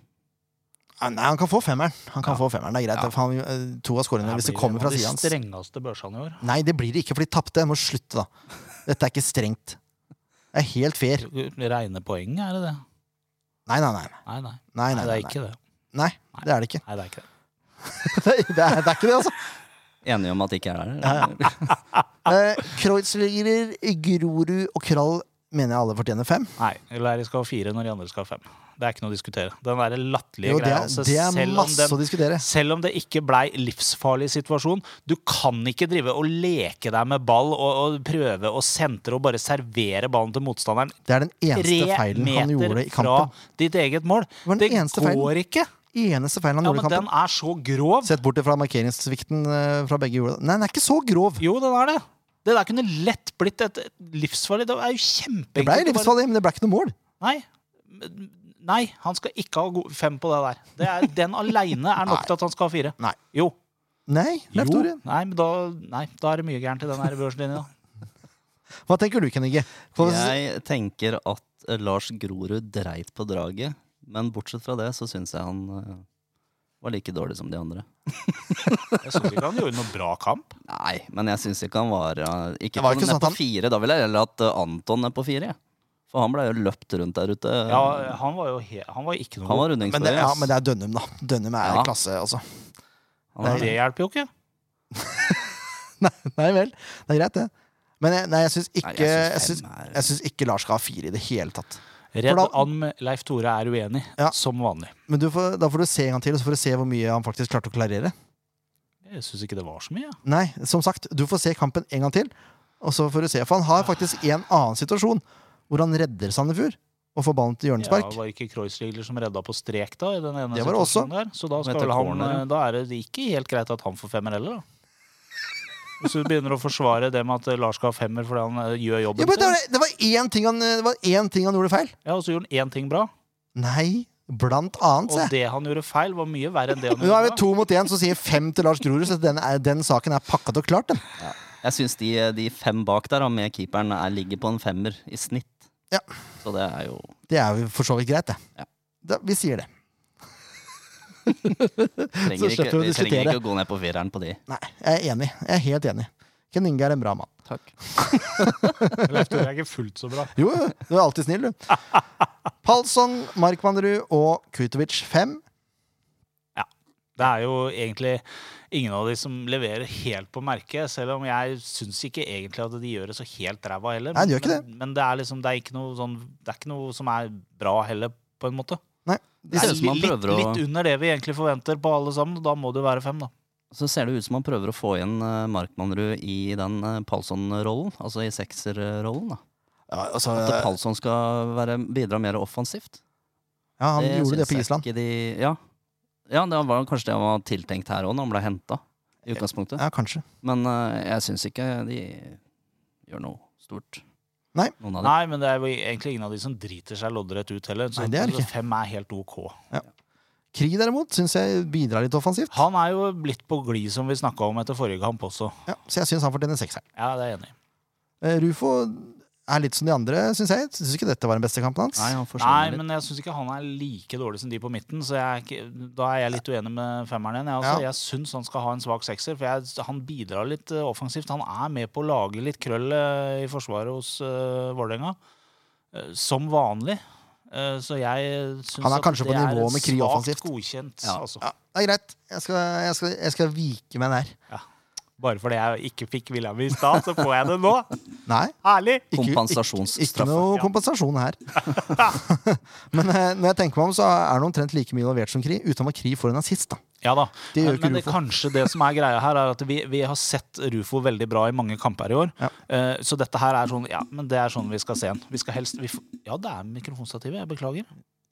A: Ah, Nei, han kan få femmeren. Han kan
C: Ja.
A: få femmeren, det er greit.
C: Ja.
A: For han, eh, to av
B: Her
A: skåringene, hvis det
B: blir
A: kommer
B: en av
A: fra sida
B: De
A: hans
B: strengeste børsene i år.
A: Nei, det blir det ikke, for de tapte. Jeg må slutte, da. Dette er ikke strengt. Det er helt fair.
B: Reine poeng, er det det?
A: Nei, nei, nei. nei,
B: Nei, nei.
A: nei, nei,
B: det
A: nei,
B: er ikke det.
A: nei. det er det ikke.
B: Nei, det er ikke det.
A: det, er, det er ikke det, altså.
C: Enige om at det ikke er der?
A: Ja,
C: eller?
A: Eh, Kreuzligerer, Grorud og Krall mener jeg alle fortjener fem.
B: Nei, Læri skal ha fire når de andre skal ha fem. Det er ikke noe å diskutere. Den derre latterlige
A: Jo, det
B: greia.
A: er,
B: altså,
A: det er
B: selv om
A: masse
B: den-
A: å diskutere.
B: Selv om det ikke blei livsfarlig situasjon, du kan ikke drive og leke deg med ball og, og prøve å sentre og bare servere ballen til motstanderen
A: Det er den
B: tre
A: eneste feilen han gjorde
B: meter
A: i
B: fra
A: kampen.
B: ditt eget mål.
A: Det var den
B: Det
A: eneste
B: går
A: feilen.
B: ikke!
A: Eneste feilen han
B: Ja,
A: gjorde i
B: men
A: kampen.
B: den er så grov.
A: Sett bort fra markeringssvikten eh, fra begge hjula. Nei, den er ikke så grov.
B: Jo, den er det. Det der kunne lett blitt et et livsfarlig Det er jo kjempeenkelt.
A: Det ble
B: å bare-
A: livsfarlig, men det ble ikke noe mål.
B: Nei. Men- Nei, han skal ikke ha go- fem på det der. Det er, den aleine er nok
A: Nei.
B: til at han skal ha fire.
A: Nei.
B: Jo.
A: Nei, Leif
B: jo.
A: Tore.
B: Nei, men da, nei, da er det mye gærent i den her børslinja.
A: Hva tenker du, Kenninge?
C: Jeg tenker at eh, Lars Grorud dreit på draget, men bortsett fra det så syns jeg han eh, var like dårlig som de andre.
B: Jeg syns ikke han gjorde noe bra kamp.
C: Nei, men jeg syns ikke han var eh, Ikke,
A: Det var
C: på-
A: ikke
C: ned
A: sånn at han-
C: på fire. Da ville jeg heller hatt eh, Anton ned på fire. jeg. For han ble jo løpt rundt der ute.
B: Ja, han var jo he han var ikke noe
C: han var
A: Men det,
C: rundingsfarlig.
A: ja,
C: ass.
A: men det er Dønnum, da. Dønnum er
C: Ja.
A: klasse, altså.
C: Han er-
B: god. Det hjelper jo ikke.
A: Nei, nei vel. Det er greit, det. Men jeg, nei, jeg syns ikke,
C: Nei,
A: jeg
C: jeg
A: syns-
C: syns fem er
A: jeg syns ikke Lars skal ha fire i det hele tatt.
B: Redd
A: For da-
B: and med Leif Tore er uenig,
A: Ja.
B: som vanlig.
A: Men du får, da får du se en gang til, og så får du se hvor mye han faktisk klarte å klarere.
B: Jeg syns ikke det var så mye.
A: Nei, som sagt, du får se kampen en gang til, og så får du se. For han har faktisk en annen situasjon hvor han redder Sandefjord og får ballen til
B: Ja,
A: hjørnespark.
B: var ikke Kreuzligler som redda på strek da? I den ene
A: Det var det også.
B: situasjonen Der. Så da,
C: Etter
B: skal vel han,
C: corner, ja.
B: da er det ikke helt greit at han får femmer heller, da. Hvis du begynner å forsvare det med at eh, Lars skal ha femmer fordi han eh, gjør
A: Ja,
B: jobben
A: men det,
B: sin,
A: var, det, var én ting han, det var én ting han gjorde feil.
B: ja, og så gjorde han én ting bra,
A: Nei, blant annet,
B: og
A: se.
B: det han gjorde feil, var mye verre enn det han
A: Nå er
B: gjorde
A: vi
B: bra.
A: to mot én som sier fem til Lars Grorud, så den, er, den saken er pakka og klart, den.
C: Jeg syns de, eh, de fem bak der, da, med keeperen, er, ligger på en femmer i snitt.
A: Ja.
C: Så det er jo
A: Det er jo for så vidt greit, det.
C: Ja.
A: Da, vi sier det.
C: trenger
A: Så slipper vi å
C: ikke, Vi trenger
A: diskutere.
C: ikke å gå ned på fireren på de.
A: Nei, jeg er enig. Jeg er helt enig. Ken Inge er en bra mann.
C: Takk.
B: Leif Tore er ikke fullt så bra.
A: Jo, jo, du er alltid snill, du. Palsson, Markmannerud og Kutovic fem.
B: Det er jo egentlig ingen av de som leverer helt på merket, selv om jeg syns ikke egentlig at de gjør det så helt ræva heller.
A: Nei, de gjør ikke
B: men, men det er liksom, det er ikke noe sånn, det er ikke noe som er bra heller, på en måte.
A: Nei,
C: Det ser ut som han
B: litt,
C: prøver å
B: litt under det vi egentlig forventer på alle sammen, og da må det jo være fem, da.
C: Så ser det ut som han prøver å få igjen eh, Markmannerud i den eh, Palsson-rollen, altså i sekserrollen. da.
A: ja, altså,
C: At Palsson skal være, bidra mer offensivt.
A: ja, han gjorde det
C: syns
A: på
C: jeg
A: Island.
C: ikke De, ja. ja, det var kanskje det han var tiltenkt her òg, når han ble henta. I utgangspunktet.
A: Ja, kanskje.
C: Men eh, jeg syns ikke de gjør noe stort.
A: Nei.
C: Noen av de.
B: Nei, men det er jo egentlig ingen av de som driter seg loddrett ut heller. Så altså,
A: Nei, det er det ikke.
B: fem er helt OK.
A: Krig derimot syns jeg bidrar litt offensivt.
B: Han er jo blitt på glid, som vi snakka om etter forrige kamp også.
A: Ja, så jeg syns han fortjener sekseren.
B: Ja, det er jeg enig i.
A: Eh, Rufo er litt som de andre, syns jeg. Syns ikke dette var den beste kampen hans.
C: Nei, han
B: Nei,
C: forsvinner litt.
B: men jeg syns ikke han er like dårlig som de på midten, så jeg er ikke, da er jeg litt uenig med femmeren igjen. Jeg, altså,
A: Ja.
B: jeg syns han skal ha en svak sekser, for jeg, han bidrar litt eh, offensivt. Han er med på å lage litt krøll eh, i forsvaret hos uh, Vålerenga, eh, som vanlig. Eh, så jeg syns
A: Han er kanskje på
B: er
A: nivå med Kri offensivt.
B: godkjent.
C: Ja.
B: Altså.
A: Ja, det er greit. Jeg skal, jeg skal, jeg skal vike meg der.
B: Bare fordi jeg ikke fikk vilja mi i stad, så får jeg det nå.
A: Nei.
B: Herlig!
A: Ikke-
C: Kompensasjonsstraffe.
A: Ikke noe
B: Ja.
A: kompensasjon her. Men eh, når jeg tenker meg om, så er han omtrent like mye involvert som Kri, utenom at Kri får en assist, da.
B: Ja da.
A: Det gjør
B: Men,
A: ikke
B: men det,
A: Rufo.
B: kanskje det som er greia her, er at vi, vi har sett Rufo veldig bra i mange kamper i år.
A: Ja.
B: Eh, så dette her er sånn Ja, men det er sånn vi skal se han. Vi skal helst vi, f- Ja, det er mikrofonstativet. Jeg beklager.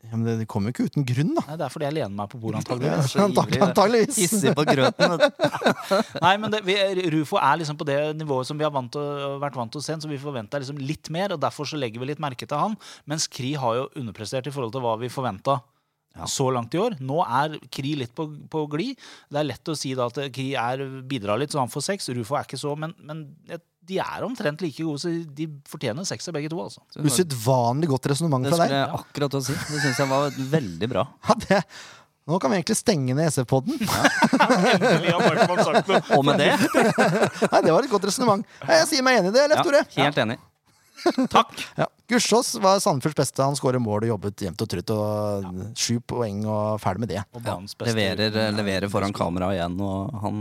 A: Ja, men det, det kommer jo ikke uten grunn, da.
B: Nei, det er fordi jeg lener meg på bordet, antagelig.
C: er så
A: Antagelig,
C: ivrig.
A: antageligvis.
C: Hisser på grøten. vet du.
B: Nei, men det, vi, Rufo er liksom på det nivået som vi har vant til, å- vært vant til å se, så vi forventer liksom litt mer, og derfor så legger vi litt merke til han. Mens Kri har jo underprestert i forhold til hva vi forventa. Så langt i år. Nå er Kri litt på, på glid. Det er lett å si da at Kri er, bidrar litt, så han får seks. Rufo er ikke så, men, men eh, de er omtrent like gode, så de fortjener sekser begge to. altså.
A: Usedvanlig godt resonnement
C: Det
A: fra
C: skulle
A: deg.
C: jeg akkurat til å si. Det syns jeg var veldig bra.
A: Ja, det, nå kan vi egentlig stenge ned E SF-podden.
B: Endelig har Markmann sagt noe.
C: Og med det
A: Nei, det var et godt resonnement. Nei, Jeg sier meg enig i det, Leif
C: ja,
A: Tore.
C: Helt enig.
B: Takk.
A: Ja. Gussiås var Sandefjords beste. Han skårer mål og jobbet jevnt og trutt. Og Sju poeng og ferdig med det.
B: Og banens beste.
C: Leverer, eh,
A: eh,
C: leverer foran kamera igjen, og han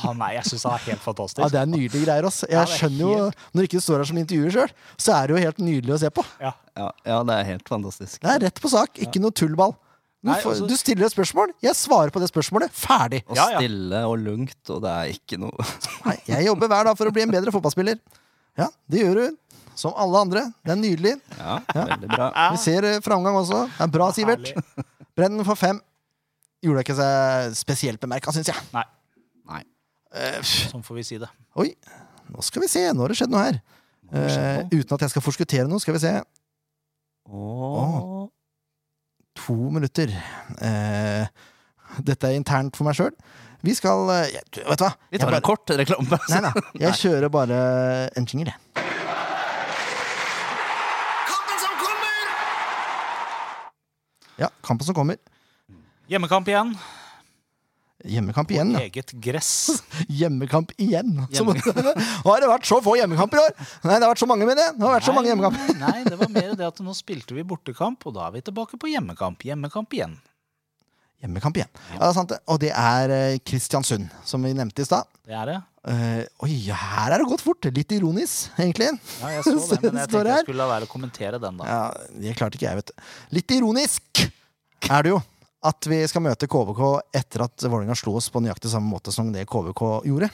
B: Han er, Ah, jeg syns han er helt fantastisk.
A: Ja, Det er nydelige greier. ass. Jeg
B: det er
A: skjønner jo, Når ikke du står her som intervjuer sjøl, så er det jo helt nydelig å se på.
B: Ja.
C: Ja, ja det er helt fantastisk.
A: Det er rett på sak. Ikke noe tullball. Du,
B: Nei,
A: får,
B: altså-
A: du stiller et spørsmål, jeg svarer på det spørsmålet. Ferdig!
C: Og
B: Ja, ja.
C: stille og lungt, og det er ikke noe
A: Nei, jeg jobber hver dag for å bli en bedre fotballspiller. Ja, det gjør du. Som alle andre. Det er nydelig.
C: Ja, veldig bra.
A: Vi ser eh, framgang også. Det er bra, Sivert.
B: Herlig.
A: Bredden for fem. Gjorde ikke seg spesielt bemerka, syns jeg.
B: Nei,
C: Nei.
A: Eh, pff,
B: sånn får vi si det.
A: oi, nå skal vi se. Nå har det skjedd noe her.
C: Hva skjer
A: Eh,
C: nå?
A: uten at jeg skal forskuttere noe, skal vi se.
C: Åh.
A: To minutter. Eh, dette er internt for meg sjøl. Vi skal eh, jeg, Vet du hva?
C: Vi
A: Jeg
C: tar en
A: bare,
C: kort reklamepause.
A: nei, nei, jeg kjører bare en jingle, jeg.
D: Kampen som kommer!
A: Ja, kampen som kommer.
B: Hjemmekamp igjen.
A: Hjemmekamp igjen. Ja.
B: Eget gress.
A: Hjemmekamp igjen. Som, har det vært så få hjemmekamper i år? Nei, det har vært så mange, mener jeg. Det har vært så mange hjemmekamper.
B: Nei, det var mer det at nå spilte vi bortekamp, og da er vi tilbake på hjemmekamp. Hjemmekamp igjen.
A: Hjemmekamp igjen. Ja, det er sant det. Og det er eh, Kristiansund, som vi nevnte i stad.
B: Det er det.
A: Eh, oi, her er det gått fort. Litt ironisk, egentlig.
B: Ja, jeg så det, men jeg
A: Står
B: tenkte
A: her.
B: jeg skulle la være å kommentere den, da.
A: Ja, Det klarte ikke jeg, vet du. Litt ironisk er det jo at vi skal møte KVK etter at Vålerenga slo oss på nøyaktig samme måte som det KVK gjorde.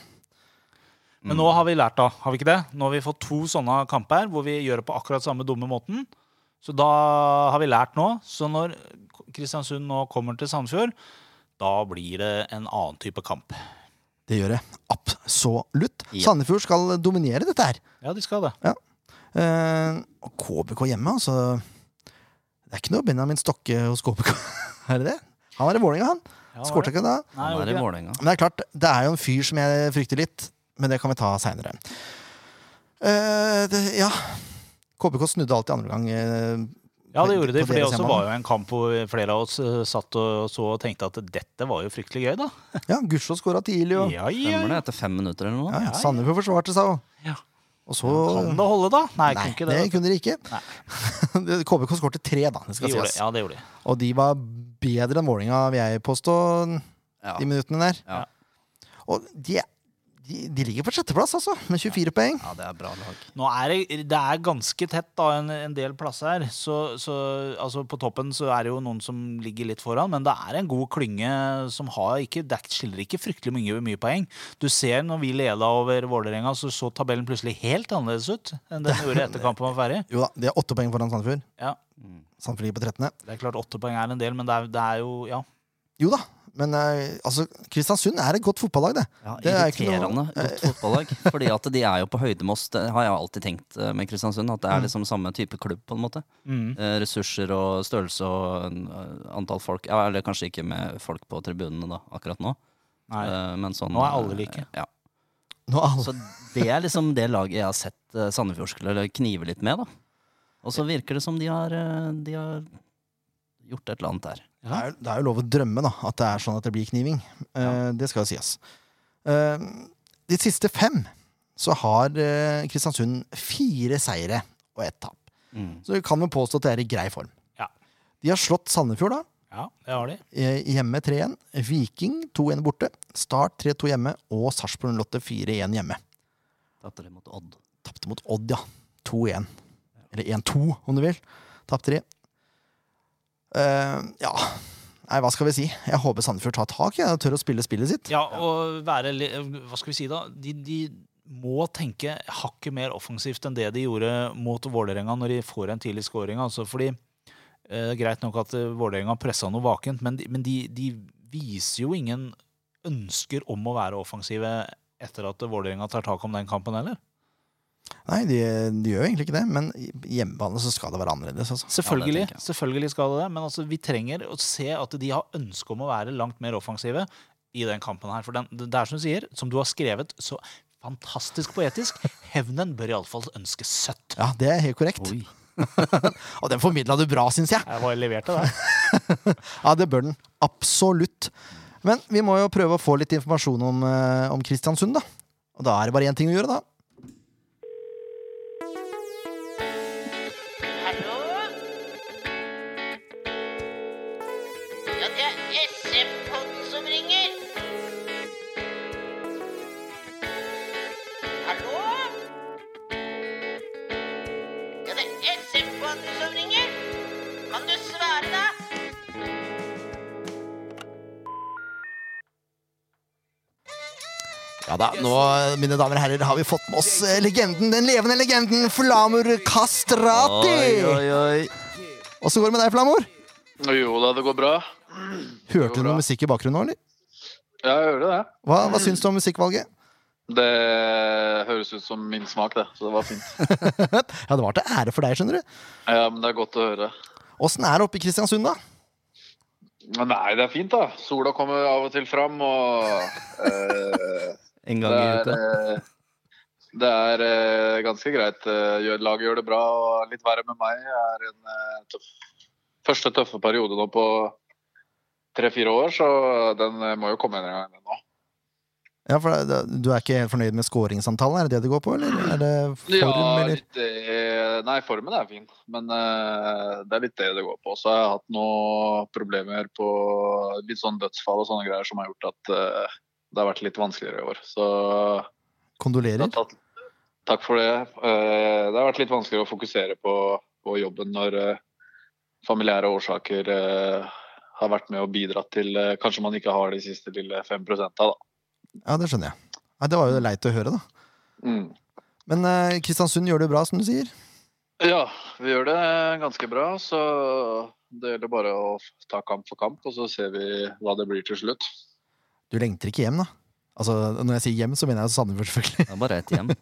B: Men nå har vi lært, da. Har vi ikke det? Nå har vi fått to sånne kamper hvor vi gjør det på akkurat samme dumme måten. Så da har vi lært nå. Så når Kristiansund nå kommer til Sandefjord, da blir det en annen type kamp.
A: Det gjør det absolutt.
C: Ja.
A: Sandefjord skal dominere dette her.
B: Ja, de skal det.
A: Eh, og KBK hjemme, altså Det er ikke noe Benjamin Stokke hos KBK, er det det? Han er i Vålerenga, han.
B: Ja,
A: Skårte ikke da?
B: Nei,
C: Han er i
B: gjorde ikke det.
C: Vålerenga.
A: Men det er klart, det er jo en fyr som jeg frykter litt. men det kan vi ta seinere. ja KBK snudde alltid andre gang. eh,
B: Ja, det gjorde de.
A: på
B: For det
A: deres
B: også
A: hjemmebane.
B: var jo en kamp hvor flere av oss eh, satt og så og tenkte at dette var jo fryktelig gøy, da.
A: ja, Gudskjelov skåra tidlig, og
B: Ja, ja.
C: Stemmer det? Etter fem minutter eller noe?
A: ja, ja, Sandefjord forsvarte seg òg.
B: Ja.
A: Og så
B: Kan det holde, da? Nei,
A: Nei,
B: kunne ikke
A: det
B: det. altså.
A: kunne de ikke. Det- KBK skårte tre, da. Det
B: De
A: skal
B: gjorde,
A: sies.
B: det. ja, det gjorde de.
A: Og de var bedre enn Vålinga, vil jeg påstå,
C: Ja.
A: de minuttene der.
C: Ja.
A: Og de, de, de ligger på sjetteplass, altså, med 24 poeng.
C: ja, det er bra lag.
B: Nå er det, det er ganske tett da, en, en del plasser her. Så, så altså, på toppen så er det jo noen som ligger litt foran, men det er en god klynge som har ikke, det er- skiller ikke fryktelig mye, mye poeng. Du ser når vi leda over Vålerenga, så så tabellen plutselig helt annerledes ut enn den gjorde etter kampen var ferdig.
A: Jo da, de er åtte poeng foran Sandefjord.
B: Ja,
A: Sandefjord ligger på 13.
B: det er klart åtte poeng er en del, men det er, det er jo Ja.
A: Jo da, men eh, altså, Kristiansund er et godt fotballag, det.
C: Ja,
A: Det er ikke noe-
C: irriterende godt fotballag. Fordi at de er jo på høyde med oss, det har jeg alltid tenkt eh, med Kristiansund. At det er liksom samme type klubb, på en måte.
B: Mm.
C: Eh, Ressurser og størrelse og eh, antall folk. Ja, eller kanskje ikke med folk på tribunene da, akkurat nå.
B: Nei.
C: Eh, Men sånn,
B: Nå er alle
C: eh,
B: like.
C: Ja.
A: Nå er alle
C: Så det er liksom det laget jeg har sett eh, Sandefjord skulle knive litt med, da. Og så virker det som de har, eh, de har gjort et eller annet der.
A: Det er, det er jo lov å drømme, da, at det er sånn at det blir kniving. Eh, det skal jo sies. Eh, de siste fem så har eh, Kristiansund fire seire og ett tap.
C: Mm.
A: Så vi kan jo påstå at det er i grei form.
B: Ja.
A: De har slått Sandefjord, da.
B: ja, det har de.
A: eh, Hjemme 3-1. Viking 2-1 borte. Start 3-2 hjemme. Og Sarpsborg Lotte 4-1 hjemme.
C: Tapte de mot Odd.
A: Tapte mot Odd, ja. 2-1. Eller 1-2, om du vil. Tapte de. Eh, ja Nei, hva skal vi si? Jeg håper Sandefjord tar tak jeg, og tør å spille spillet sitt.
B: Ja, og være li- Hva skal vi si, da? De, de må tenke hakket mer offensivt enn det de gjorde mot Vålerenga når de får en tidlig scoring. Altså, fordi eh, Greit nok at eh, Vålerenga pressa noe vakent, men, de, men de, de viser jo ingen ønsker om å være offensive etter at Vålerenga tar tak om den kampen heller.
A: Nei, de, de gjør jo egentlig ikke det, men i- hjemmebane så skal det være annerledes. Altså.
B: Selvfølgelig,
C: tenker jeg.
B: selvfølgelig skal det det, men altså, vi trenger å se at de har ønske om å være langt mer offensive i den kampen her. For den, det er som du sier, som du har skrevet så fantastisk poetisk, hevnen bør iallfall ønske søtt.
A: Ja, det er helt korrekt.
C: Oi.
A: Og den formidla du bra, syns jeg!
B: Jeg var levert av det.
A: Ja, det bør den. Absolutt. Men vi må jo prøve å få litt informasjon om, eh, om Kristiansund, da. Og da er det bare én ting å gjøre, da.
E: Hallo? Ja, det er SF-podden som ringer. Hallo? Ja, det er SF-podden som ringer. Kan du svare, da?
A: Ja da, nå, mine damer og herrer, har vi fått med oss eh, legenden, den levende legenden Flamur
C: Oi,
A: Kastrati!
C: oi, oi.
A: Åssen går det med deg, Flamor?
F: Jo da, det går bra.
A: Hørte du
F: bra.
A: noe musikk i bakgrunnen nå, eller?
F: Ja, jeg hører det.
A: Hva, hva syns du om musikkvalget?
F: Det høres ut som min smak, det. Så det var fint.
A: Ja, det var til ære for deg, skjønner du.
F: Ja, men det er godt å høre.
A: Åssen er det oppe i Kristiansund, da?
F: Men nei, det er fint, da. Sola kommer av og til fram, og eh,
C: En
F: det
C: gang i
F: er,
C: uka.
F: eh, det er eh, ganske greit. Eh, gjør- Laget gjør det bra, og litt verre med meg. Jeg er en eh, tøff, første tøffe periode nå på tre-fire år, så den eh, må jo komme en gang den nå.
A: Ja, for det- det- Du er ikke helt fornøyd med skåringsantallet? Er det det det går på, eller? Er det form,
F: ja,
A: eller?
F: litt, eh, nei, formen er fin, men eh, det er litt det det går på. Så jeg har hatt noen problemer på litt sånn dødsfall og sånne greier som har gjort at eh, det har vært litt vanskeligere i år. Så det
A: Kondolerer?
F: har tatt, takk for det. Eh, det har vært litt vanskeligere å fokusere på, på jobben når eh, familiære årsaker eh, har vært med og bidratt til eh, Kanskje man ikke har de siste lille 5 da.
A: Ja, det skjønner jeg. Nei, det var jo leit å høre, da.
F: Mm.
A: Men eh, Kristiansund gjør det bra, som du sier.
F: Ja, vi gjør det ganske bra. Så det gjelder bare å ta kamp for kamp, og så ser vi hva det blir til slutt.
A: Du lengter ikke hjem, da? Altså, Når jeg sier hjem, så mener jeg Sandefjord, selvfølgelig.
C: Det er bare ett hjem.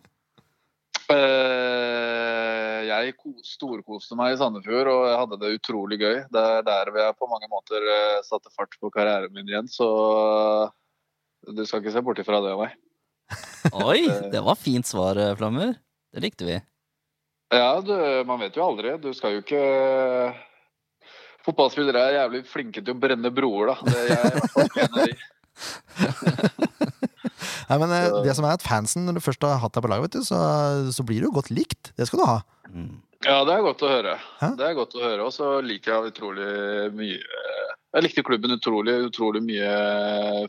F: Eh, Jeg ko- storkoste meg i Sandefjord, og jeg hadde det utrolig gøy. Det er der vi er på mange måter eh, satte fart på karrieren min igjen, så du skal ikke se bort ifra det, nei.
C: Oi, det var fint svar, eh, Flammer. Det likte vi.
F: Ja, du, man vet jo aldri. Du skal jo ikke eh, Fotballspillere er jævlig flinke til å brenne broer, da. Det er jeg i hvert fall ikke en av de.
A: Nei, men eh, det som er at fansen, når du først har hatt deg på laget, vet du, så, så blir du jo godt likt. Det skal du ha.
C: Mm.
F: Ja, det er godt å høre.
A: Hæ?
F: Det er godt å høre, Og så liker jeg utrolig mye Jeg likte klubben utrolig. Utrolig mye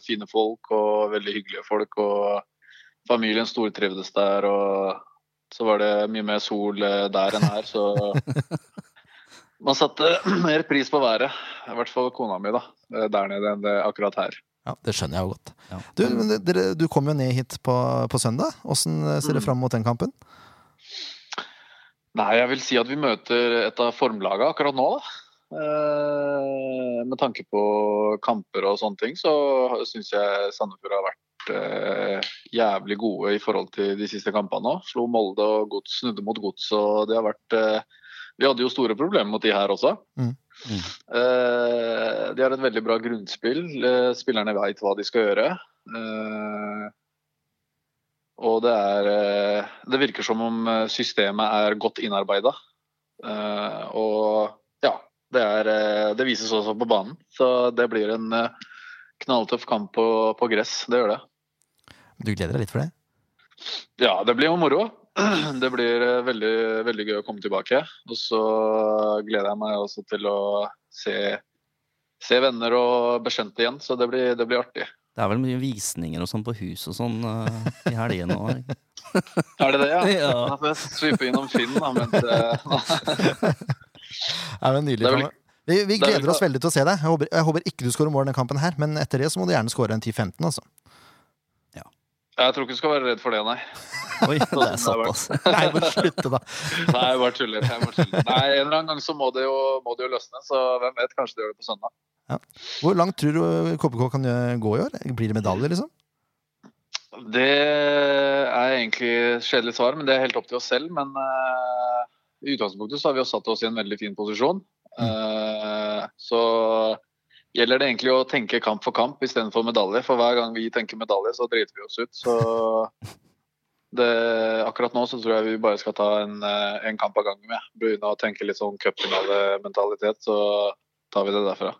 F: fine folk og veldig hyggelige folk. Og familien stortrivdes der. Og så var det mye mer sol eh, der enn her, så Man satte mer pris på været. I hvert fall kona mi, da. eh, Der nede enn det akkurat her.
A: Ja, Det skjønner jeg jo godt.
C: Ja.
A: Du, men dere, du kom jo ned hit på, på søndag. Åssen eh, ser dere fram mot den kampen?
F: Nei, jeg vil si at vi møter et av formlaga akkurat nå, da. Eh, med tanke på kamper og sånne ting, så syns jeg Sandefjord har vært eh, jævlig gode i forhold til de siste kampene òg. Slo Molde og gods, snudde mot Gods, og det har vært eh, Vi hadde jo store problemer mot de her også.
A: Mm.
F: Eh, de har et veldig bra grunnspill. Eh, spillerne veit hva de skal gjøre. Eh, og det er eh, Det virker som om eh, systemet er godt innarbeida. Og ja. Det, er, eh, det vises også på banen. Så det blir en eh, knalltøff kamp på, på gress. Det gjør det.
A: Du gleder deg litt for det?
F: Ja, det blir jo moro. Det blir eh, veldig, veldig gøy å komme tilbake. Og så gleder jeg meg også til å se, se venner og bekjente igjen. Så det blir, det blir artig.
C: Det er vel mye visninger og sånn på hus og sånn eh, i helgene òg.
F: Er det det, ja?
C: Ja.
F: Da får jeg svipe innom Finn, da. Mens, eh,
A: Ja, men nydelig,
F: Det er vel-
A: Flammer. vi, vi
F: det er vel
A: gleder oss
F: ikke-
A: veldig til å se deg. Jeg håper, jeg håper ikke du skårer mål denne kampen her, men etter det så må du gjerne skåre en 10-15, altså.
F: jeg tror ikke du skal være redd for det, nei.
C: Oi, det er altså. såpass.
A: Nei, bare slutte, da.
F: Nei, jeg bare tuller. Jeg bare tuller. Nei, En eller annen gang så må det jo, må det jo løsne, så hvem vet? Kanskje det gjør det på søndag.
A: Hvor langt tror du KPK kan gjø- gå i år? Blir det medalje, liksom?
F: Det er egentlig et kjedelig svar, men det er helt opp til oss selv. Men eh, i utgangspunktet så har vi jo satt oss i en veldig fin posisjon. Eh, så gjelder det egentlig å tenke kamp for kamp istedenfor medalje. For hver gang vi tenker medalje, så driter vi oss ut. Så det, akkurat nå så tror jeg vi bare skal ta en, eh, en kamp av gangen. Ja. Begynne å tenke litt sånn cupfinalementalitet, så tar vi det derfra.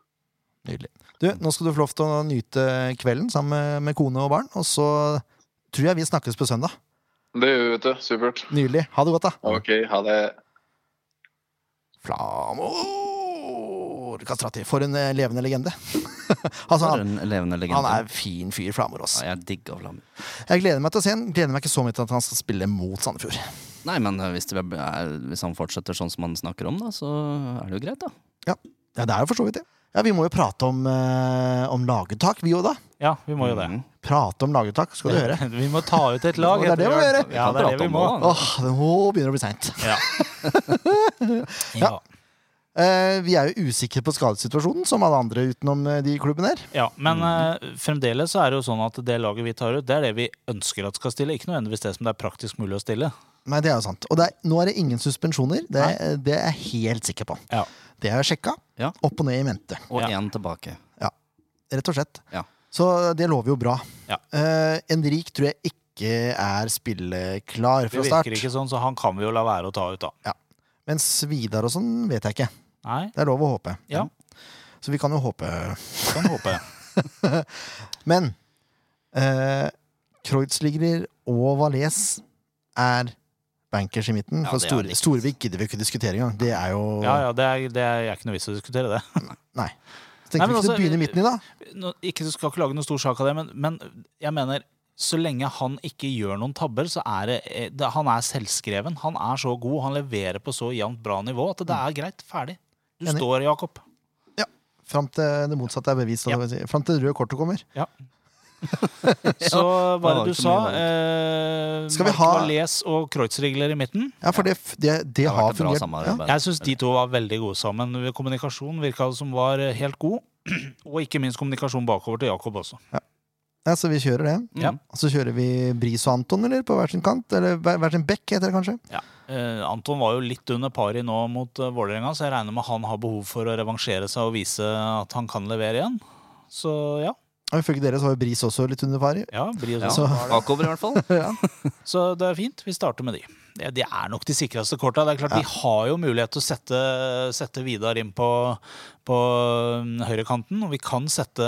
A: Nydelig. Du, nå skal du få lov til å nyte kvelden sammen med, med kone og barn, og så tror jeg vi snakkes på søndag.
F: Det gjør vi, vet du. Supert.
A: Nydelig. Ha det godt, da.
F: OK, ha det.
A: Flamor Kastrati. For en eh, levende legende. altså,
C: For
A: han,
C: en levende
A: han
C: legende.
A: er fin fyr, Flamor. Ass.
C: Ja, jeg digger Flammer.
A: Jeg gleder meg til å se han. Gleder meg ikke så mye til at han skal spille mot Sandefjord.
C: Nei, men eh, hvis, det er, hvis han fortsetter sånn som han snakker om, da, så er det jo greit, da.
A: Ja, det er jo for så vidt det. Ja, Vi må jo prate om, eh, om laguttak, vi òg, da.
B: Ja, vi må jo det.
C: Mm.
A: Prate om laguttak, skal du høre.
B: Vi må ta ut et lag.
A: Det er det vi må gjøre.
B: Ja, det er det vi må.
C: da.
A: Åh, nå begynner det å bli seint.
B: Ja.
A: Eh, vi er jo usikre på skadesituasjonen, som alle andre utenom eh, de klubbene her.
B: Ja, men
A: Mm.
B: eh, fremdeles så er det jo sånn at det laget vi tar ut, det er det vi ønsker at skal stille. Ikke nødvendigvis det som det er praktisk mulig å stille.
A: Nei, det er jo sant. Og det er, nå er det ingen suspensjoner. Det, eh, det er jeg helt sikker på.
B: Ja.
A: Det har jeg sjekka.
C: Ja.
A: Opp og ned i mente.
C: Og
B: Ja.
C: én tilbake.
A: Rett og slett.
C: Ja.
A: Så det lover jo bra.
B: Ja.
A: Eh, Henrik tror jeg ikke er spilleklar
B: Det
A: fra
B: virker
A: start.
B: ikke sånn, så han kan vi jo la være å ta ut, da.
A: Mens Vidar og sånn vet jeg ikke.
B: Nei,
A: Det er lov å håpe.
B: Ja.
A: Så vi kan jo håpe.
B: kan håpe.
A: Men eh, Kreuzliger og Valais er bankers i midten.
C: Ja,
A: for
C: det er
A: Stor,
C: likt.
A: Storvik gidder vi ikke diskutere engang. Det er jo
B: Ja, ja, det er, det er, jeg er ikke noe vits i å diskutere det.
A: Nei. Så
B: Nei,
A: tenkte
B: men
A: vi ikke
B: altså,
A: å begynne i midten i, da.
B: Nå, ikke, du skal ikke lage noen stor sak av det, men, men jeg mener så lenge han ikke gjør noen tabber, så er det, eh, det Han er selvskreven. Han er så god, han leverer på så jevnt bra nivå at det er greit. Ferdig. Du
A: Enig.
B: står, Jakob.
A: Fram til det motsatte er bevist.
B: Ja.
A: Ja. Si. Fram til det røde kortet kommer.
B: Så hva er
C: det var
B: det du
C: ikke
B: sa?
C: mye
B: Eh,
A: Skal vi
B: Mark
A: ha-
B: Valais og Kreutzregler i midten?
A: Ja, for det, f- det, det,
C: Det har
A: har
C: vært et bra
A: fungert. Ja.
C: samarbeid.
B: Jeg syns de to var veldig gode sammen. Kommunikasjonen virka som var eh, helt god. Og ikke minst kommunikasjon bakover til Jakob også.
A: Ja, så vi kjører det.
C: Mm.
B: Ja.
A: Og så kjører vi Bris og Anton, eller? På hver sin kant? Eller hver hver sin bekk, heter det kanskje?
B: Eh, Anton var jo litt under pari nå mot eh, Vålerenga, så jeg regner med han har behov for å revansjere seg og vise at han kan levere igjen. Så ja,
A: Og ifølge dere så var jo Bris også litt under pari.
B: Ja, bry
C: Ja,
B: oss om.
A: sånn.
C: bakover i hvert fall.
B: Så det er fint. Vi starter med de. Ja, De er nok de sikreste korta. Det er klart, De har jo mulighet til å sette, sette Vidar inn på, på mm, høyrekanten. Og vi kan sette,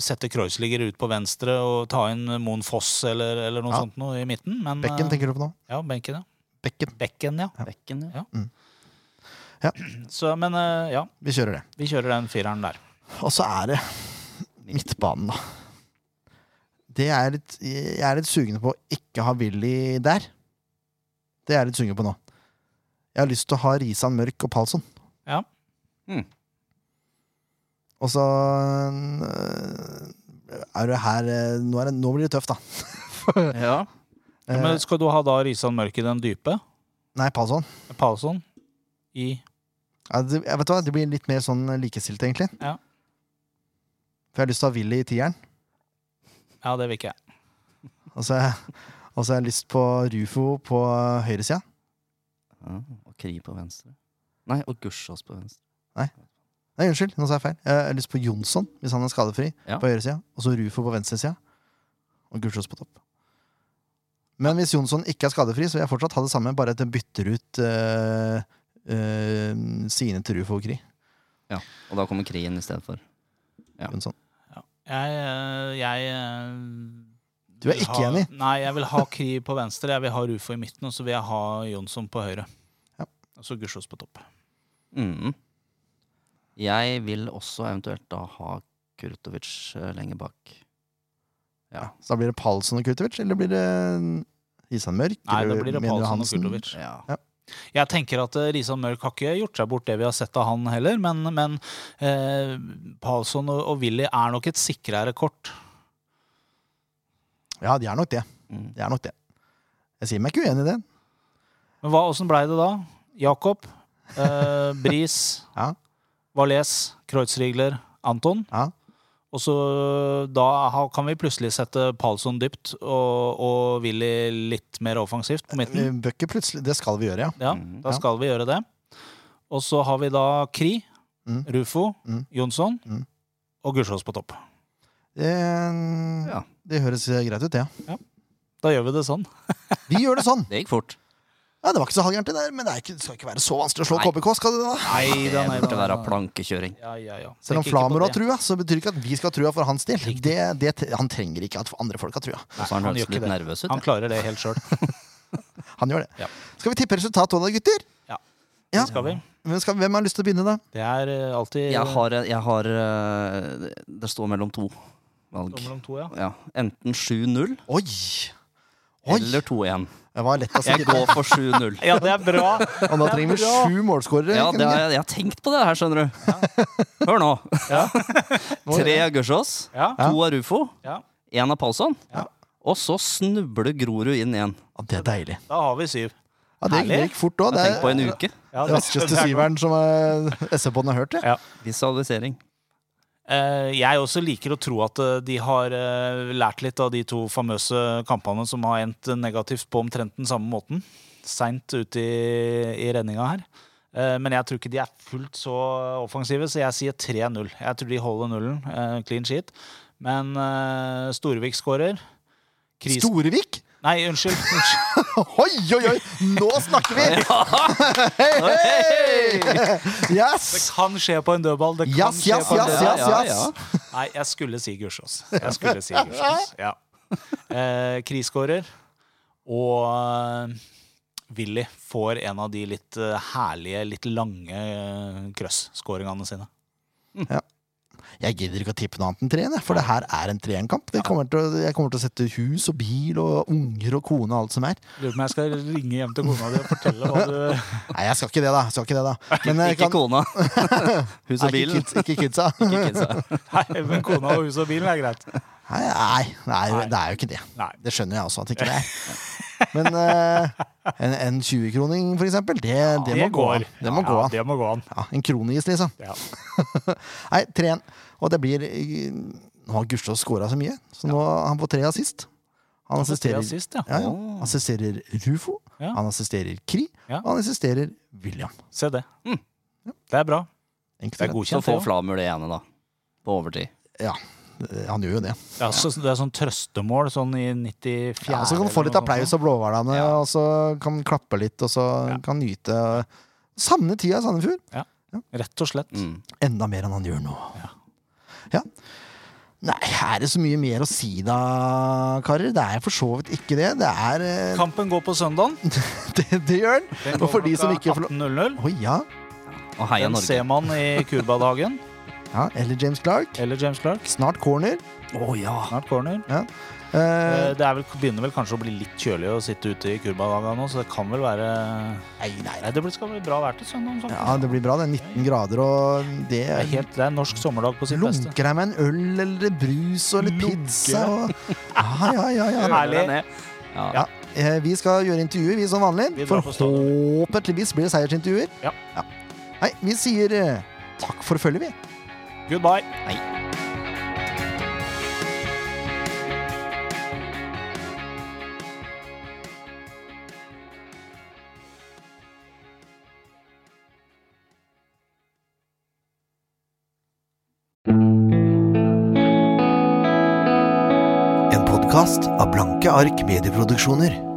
B: sette Kreuzliger ut på venstre og ta inn Moen Foss eller, eller noe
A: Ja.
B: sånt noe i midten. Men,
A: Bekken
B: eh,
A: tenker du på nå?
B: Ja, benken, ja.
A: Bekken.
B: Bekken, ja.
C: Bekken, ja.
B: Så, men eh, ja,
A: Vi kjører det.
B: vi kjører den fireren der.
A: Og så er det midtbanen, da. Det er jeg litt, jeg er litt sugen på å ikke ha Willy der. Det er jeg litt sugen på nå. Jeg har lyst til å ha Risan Mørk og Palsson.
B: Ja.
C: Mm.
A: Og så øh, er det her øh, nå, er det, nå blir det tøft, da.
C: ja.
B: Ja,
A: Eh,
B: men skal du ha da Risan Mørk i den dype?
A: Nei, Palsson.
B: Palsson i
A: Ja, det, jeg vet du hva, det blir litt mer sånn likestilt, egentlig.
B: Ja.
A: For jeg har lyst til å ha Willy i tieren.
B: Ja, det vil ikke jeg.
A: Og så og så har jeg lyst på Rufo på høyresida.
C: Ja, Og Kri på venstre. Nei, og Gussiås på venstre.
A: Nei, unnskyld, nå sa jeg feil. Jeg har lyst på Jonsson, hvis han er skadefri,
C: Ja.
A: på høyresida. Og så Rufo på venstresida. Og Gulsjås på topp. Men hvis Jonsson ikke er skadefri, så vil jeg fortsatt ha det samme, bare at jeg bytter ut øh, øh, sine til Rufo og Kri.
C: Og da kommer Kri inn istedenfor. Ja.
A: Jonsson.
B: Jeg, eh, jeg eh,
A: Du er ikke
B: ha,
A: enig?
B: Nei, jeg vil ha Kri på venstre, jeg vil ha Rufo i midten, og så vil jeg ha Jonsson på høyre.
A: Ja.
B: Og så Gussiås på topp.
C: Mm. Jeg vil også eventuelt da ha Kurtovic eh, lenger bak. Ja.
A: Så da blir det Palsson og Kurtovic, eller blir det eh, Isan Mørk?
B: Nei, da
A: eller
B: blir det
A: mener du
B: Palsson og
A: Hansen?
B: Kurtovic.
C: ja.
B: Jeg tenker at eh, Risan Mørk har ikke gjort seg bort det vi har sett av han heller, men, men eh, Palsson og, og Willy er nok et sikrere kort.
A: Ja, de er nok det.
C: Mm.
A: Det er nok det. Jeg sier meg ikke uenig i det.
B: Men hva, åssen blei det da? Jakob, eh, Bris,
A: Ja.
B: Valais, Kreuzrigler, Anton.
A: Ja.
B: Og så da har, kan vi plutselig sette Palsson dypt og, og Willy litt mer offensivt på
C: Mm.
B: midten.
A: Vi bør ikke plutselig Det skal Eh, vi gjøre, ja.
B: Ja,
C: Mhm.
B: da
A: Ja.
B: skal vi gjøre det. Og så har vi da Kri,
A: Mm.
B: Rufo,
A: Mm.
B: Jonsson
A: Mm.
B: og Gussiås på topp.
A: Det,
C: Ja.
A: det høres eh, greit ut, det. Ja.
B: Da gjør vi det sånn.
A: Vi gjør det sånn!
C: Det gikk fort.
A: Ja, Det var ikke så halvgærent, det der, men det er ikke, det skal ikke være så vanskelig å slå
C: Nei.
A: KBK. skal det da?
B: Nei
C: Det burde være plankekjøring.
B: Ja, ja, ja.
A: Selv om
B: Tenk ikke på
A: Flamur har
B: det.
A: trua, så betyr det ikke at vi skal ha trua for hans del. Det, det, han trenger ikke at andre folk har trua.
C: Og så har
B: han
C: han hørtes
B: gjør ikke det.
C: litt nervøs ut.
B: Han klaklarer det helt sjøl.
A: Han gjør det.
B: Ja.
A: Skal vi tippe resultatet òg, da, gutter?
B: Ja.
A: Ja.
B: Skal vi?
A: Hvem, skal, hvem har lyst til å begynne, da?
B: Det er eh, alltid
C: Jeg har, jeg har eh, Det står mellom to valg.
B: mellom to, ja.
C: Ja. Enten 7-0
A: Oi! Oi!
C: eller 2-1.
A: Det var lett å si.
C: Jeg går for 7-0.
B: Ja, det er bra!
A: Og nå trenger vi
B: Ja.
A: sju målskårere.
C: Ja,
A: kan
C: det
A: vi?
C: har jeg, jeg har tenkt på det her, skjønner du. Hør nå. Tre av Gussiås,
B: Ja,
A: Ja.
C: to av Rufo,
B: ja.
C: én av Palsson.
B: Ja.
C: Og så snubler Grorud inn igjen.
A: Ja, det er deilig.
B: Da har vi syv.
A: Ja, det, gikk- det
B: Herlig.
A: gikk fort òg.
C: Jeg
A: Det
C: tenker på en
A: er
C: uke.
B: Ja, det-
A: raskeste syveren som SV-båndet har hørt. det.
B: Ja.
C: Visualisering.
B: Eh, Jeg også liker å tro at eh, de har eh, lært litt av de to famøse kampene som har endt negativt på omtrent den samme måten. Seint ute i, i redninga her. Eh, Men jeg tror ikke de er fullt så offensive, så jeg sier 3-0. Jeg tror de holder nullen. eh, Clean sheet. Men eh, Storvik skårer. Kris...
A: Storevik?
B: Nei, unnskyld. unnskyld.
A: Oi, oi, oi! Nå snakker vi! Hei, hei!
B: Det
A: Yes!
B: kan skje på en dødball. Det kan
A: Yes,
B: skje
A: yes,
B: på en
A: yes,
B: dødball.
A: yes, yes.
B: Nei, jeg skulle si Gussiås. Jeg skulle si Gussiås, ja. Eh, Kriskårer. Og eh, Willy får en av de litt eh, herlige, litt lange eh, krøss-skåringene sine.
A: Jeg gidder ikke å tippe noe annet enn treen, jeg, for det her er en treenkamp. Det kommer til å- Jeg kommer til å sette hus og bil og unger og kone og alt som er.
B: Lurer på om jeg skal ringe hjem til kona di og fortelle hva du
A: Nei, jeg skal ikke det, da. Jeg skal ikke det, da. Men jeg
C: Ikke
A: kan-
C: kona. Hus
A: Nei,
C: og bilen.
A: Ikke, kids, ikke kidsa.
C: Ikke kidsa.
B: Nei, men kona og huset og bilen er greit.
A: Nei, nei, nei, det er jo ikke det.
B: Nei.
A: Det skjønner jeg også at ikke det er. Men eh, en, en 20-kroning, for eksempel, det, det må gå an. Det må
B: ja,
A: gå an.
B: Det må gå an.
A: Ja, en kronis, liksom.
B: Ja.
A: Nei, 3-1. Og det blir eh, Nå har Gustav skåra så mye, så nå er han på tre assist. Han
B: Det
A: assisterer,
B: er sist, ja.
A: ja, ja. assisterer Rufo,
B: Ja.
A: han assisterer Kri,
B: Ja.
A: og han assisterer William.
B: Se det. Det er bra.
A: Enkelt
B: Det er
A: og greit.
B: godkjent.
C: Så får
B: det også.
C: Flamur det ene, da. På overtid.
A: Ja. Eh, Han gjør jo det.
B: Ja, så Det er sånn trøstemål sånn i 94
A: Ja, så kan han få litt
B: eller noe
A: applaus
B: sånt.
A: av blåhvalene,
B: Ja.
A: og så kan han klappe litt, og så
B: Ja.
A: kan han nyte Savne tida i Sandefjord.
B: Rett og slett.
C: Mm.
A: Enda mer enn han gjør nå. Ja. Nei, er det så mye mer å si da, karer? Det er for så vidt ikke det. Det er eh,
B: Kampen går på søndagen.
A: Det, det gjør den!
B: Den
A: Og
B: går
A: for de som
B: klokka
A: ikke får lov
B: 18.00.
A: Å ja.
C: Og heia
B: Den
C: Norge.
B: ser man i Kurbadhagen.
A: ja. Eller James Clark.
B: Eller James Clark.
A: Snart corner.
C: Å ja!
B: Snart corner.
A: Eh,
B: Eh, Det er vel, begynner vel kanskje å bli litt kjølig å sitte ute i Kurbadhagen nå, så det kan vel være
A: nei, nei,
B: Nei, det blir- skal bli bra vær til søndag. faktisk.
A: Ja, det blir bra. Det er 19 grader, og det
B: Det er, helt, det er norsk sommerdag på sitt beste.
A: Lunker deg med en øl eller brus og litt
B: Lunker
A: pizza og Ja, ja, ja. ja.
B: Herlig.
C: Ja.
A: Eh, Vi skal gjøre intervjuer, vi som vanlig.
B: Vi drar på
A: Forhåpentligvis blir det seiersintervjuer.
B: Ja.
A: Nei, vi sier eh, takk for følget, vi.
B: Goodbye.
A: En podkast av Blanke ark medieproduksjoner.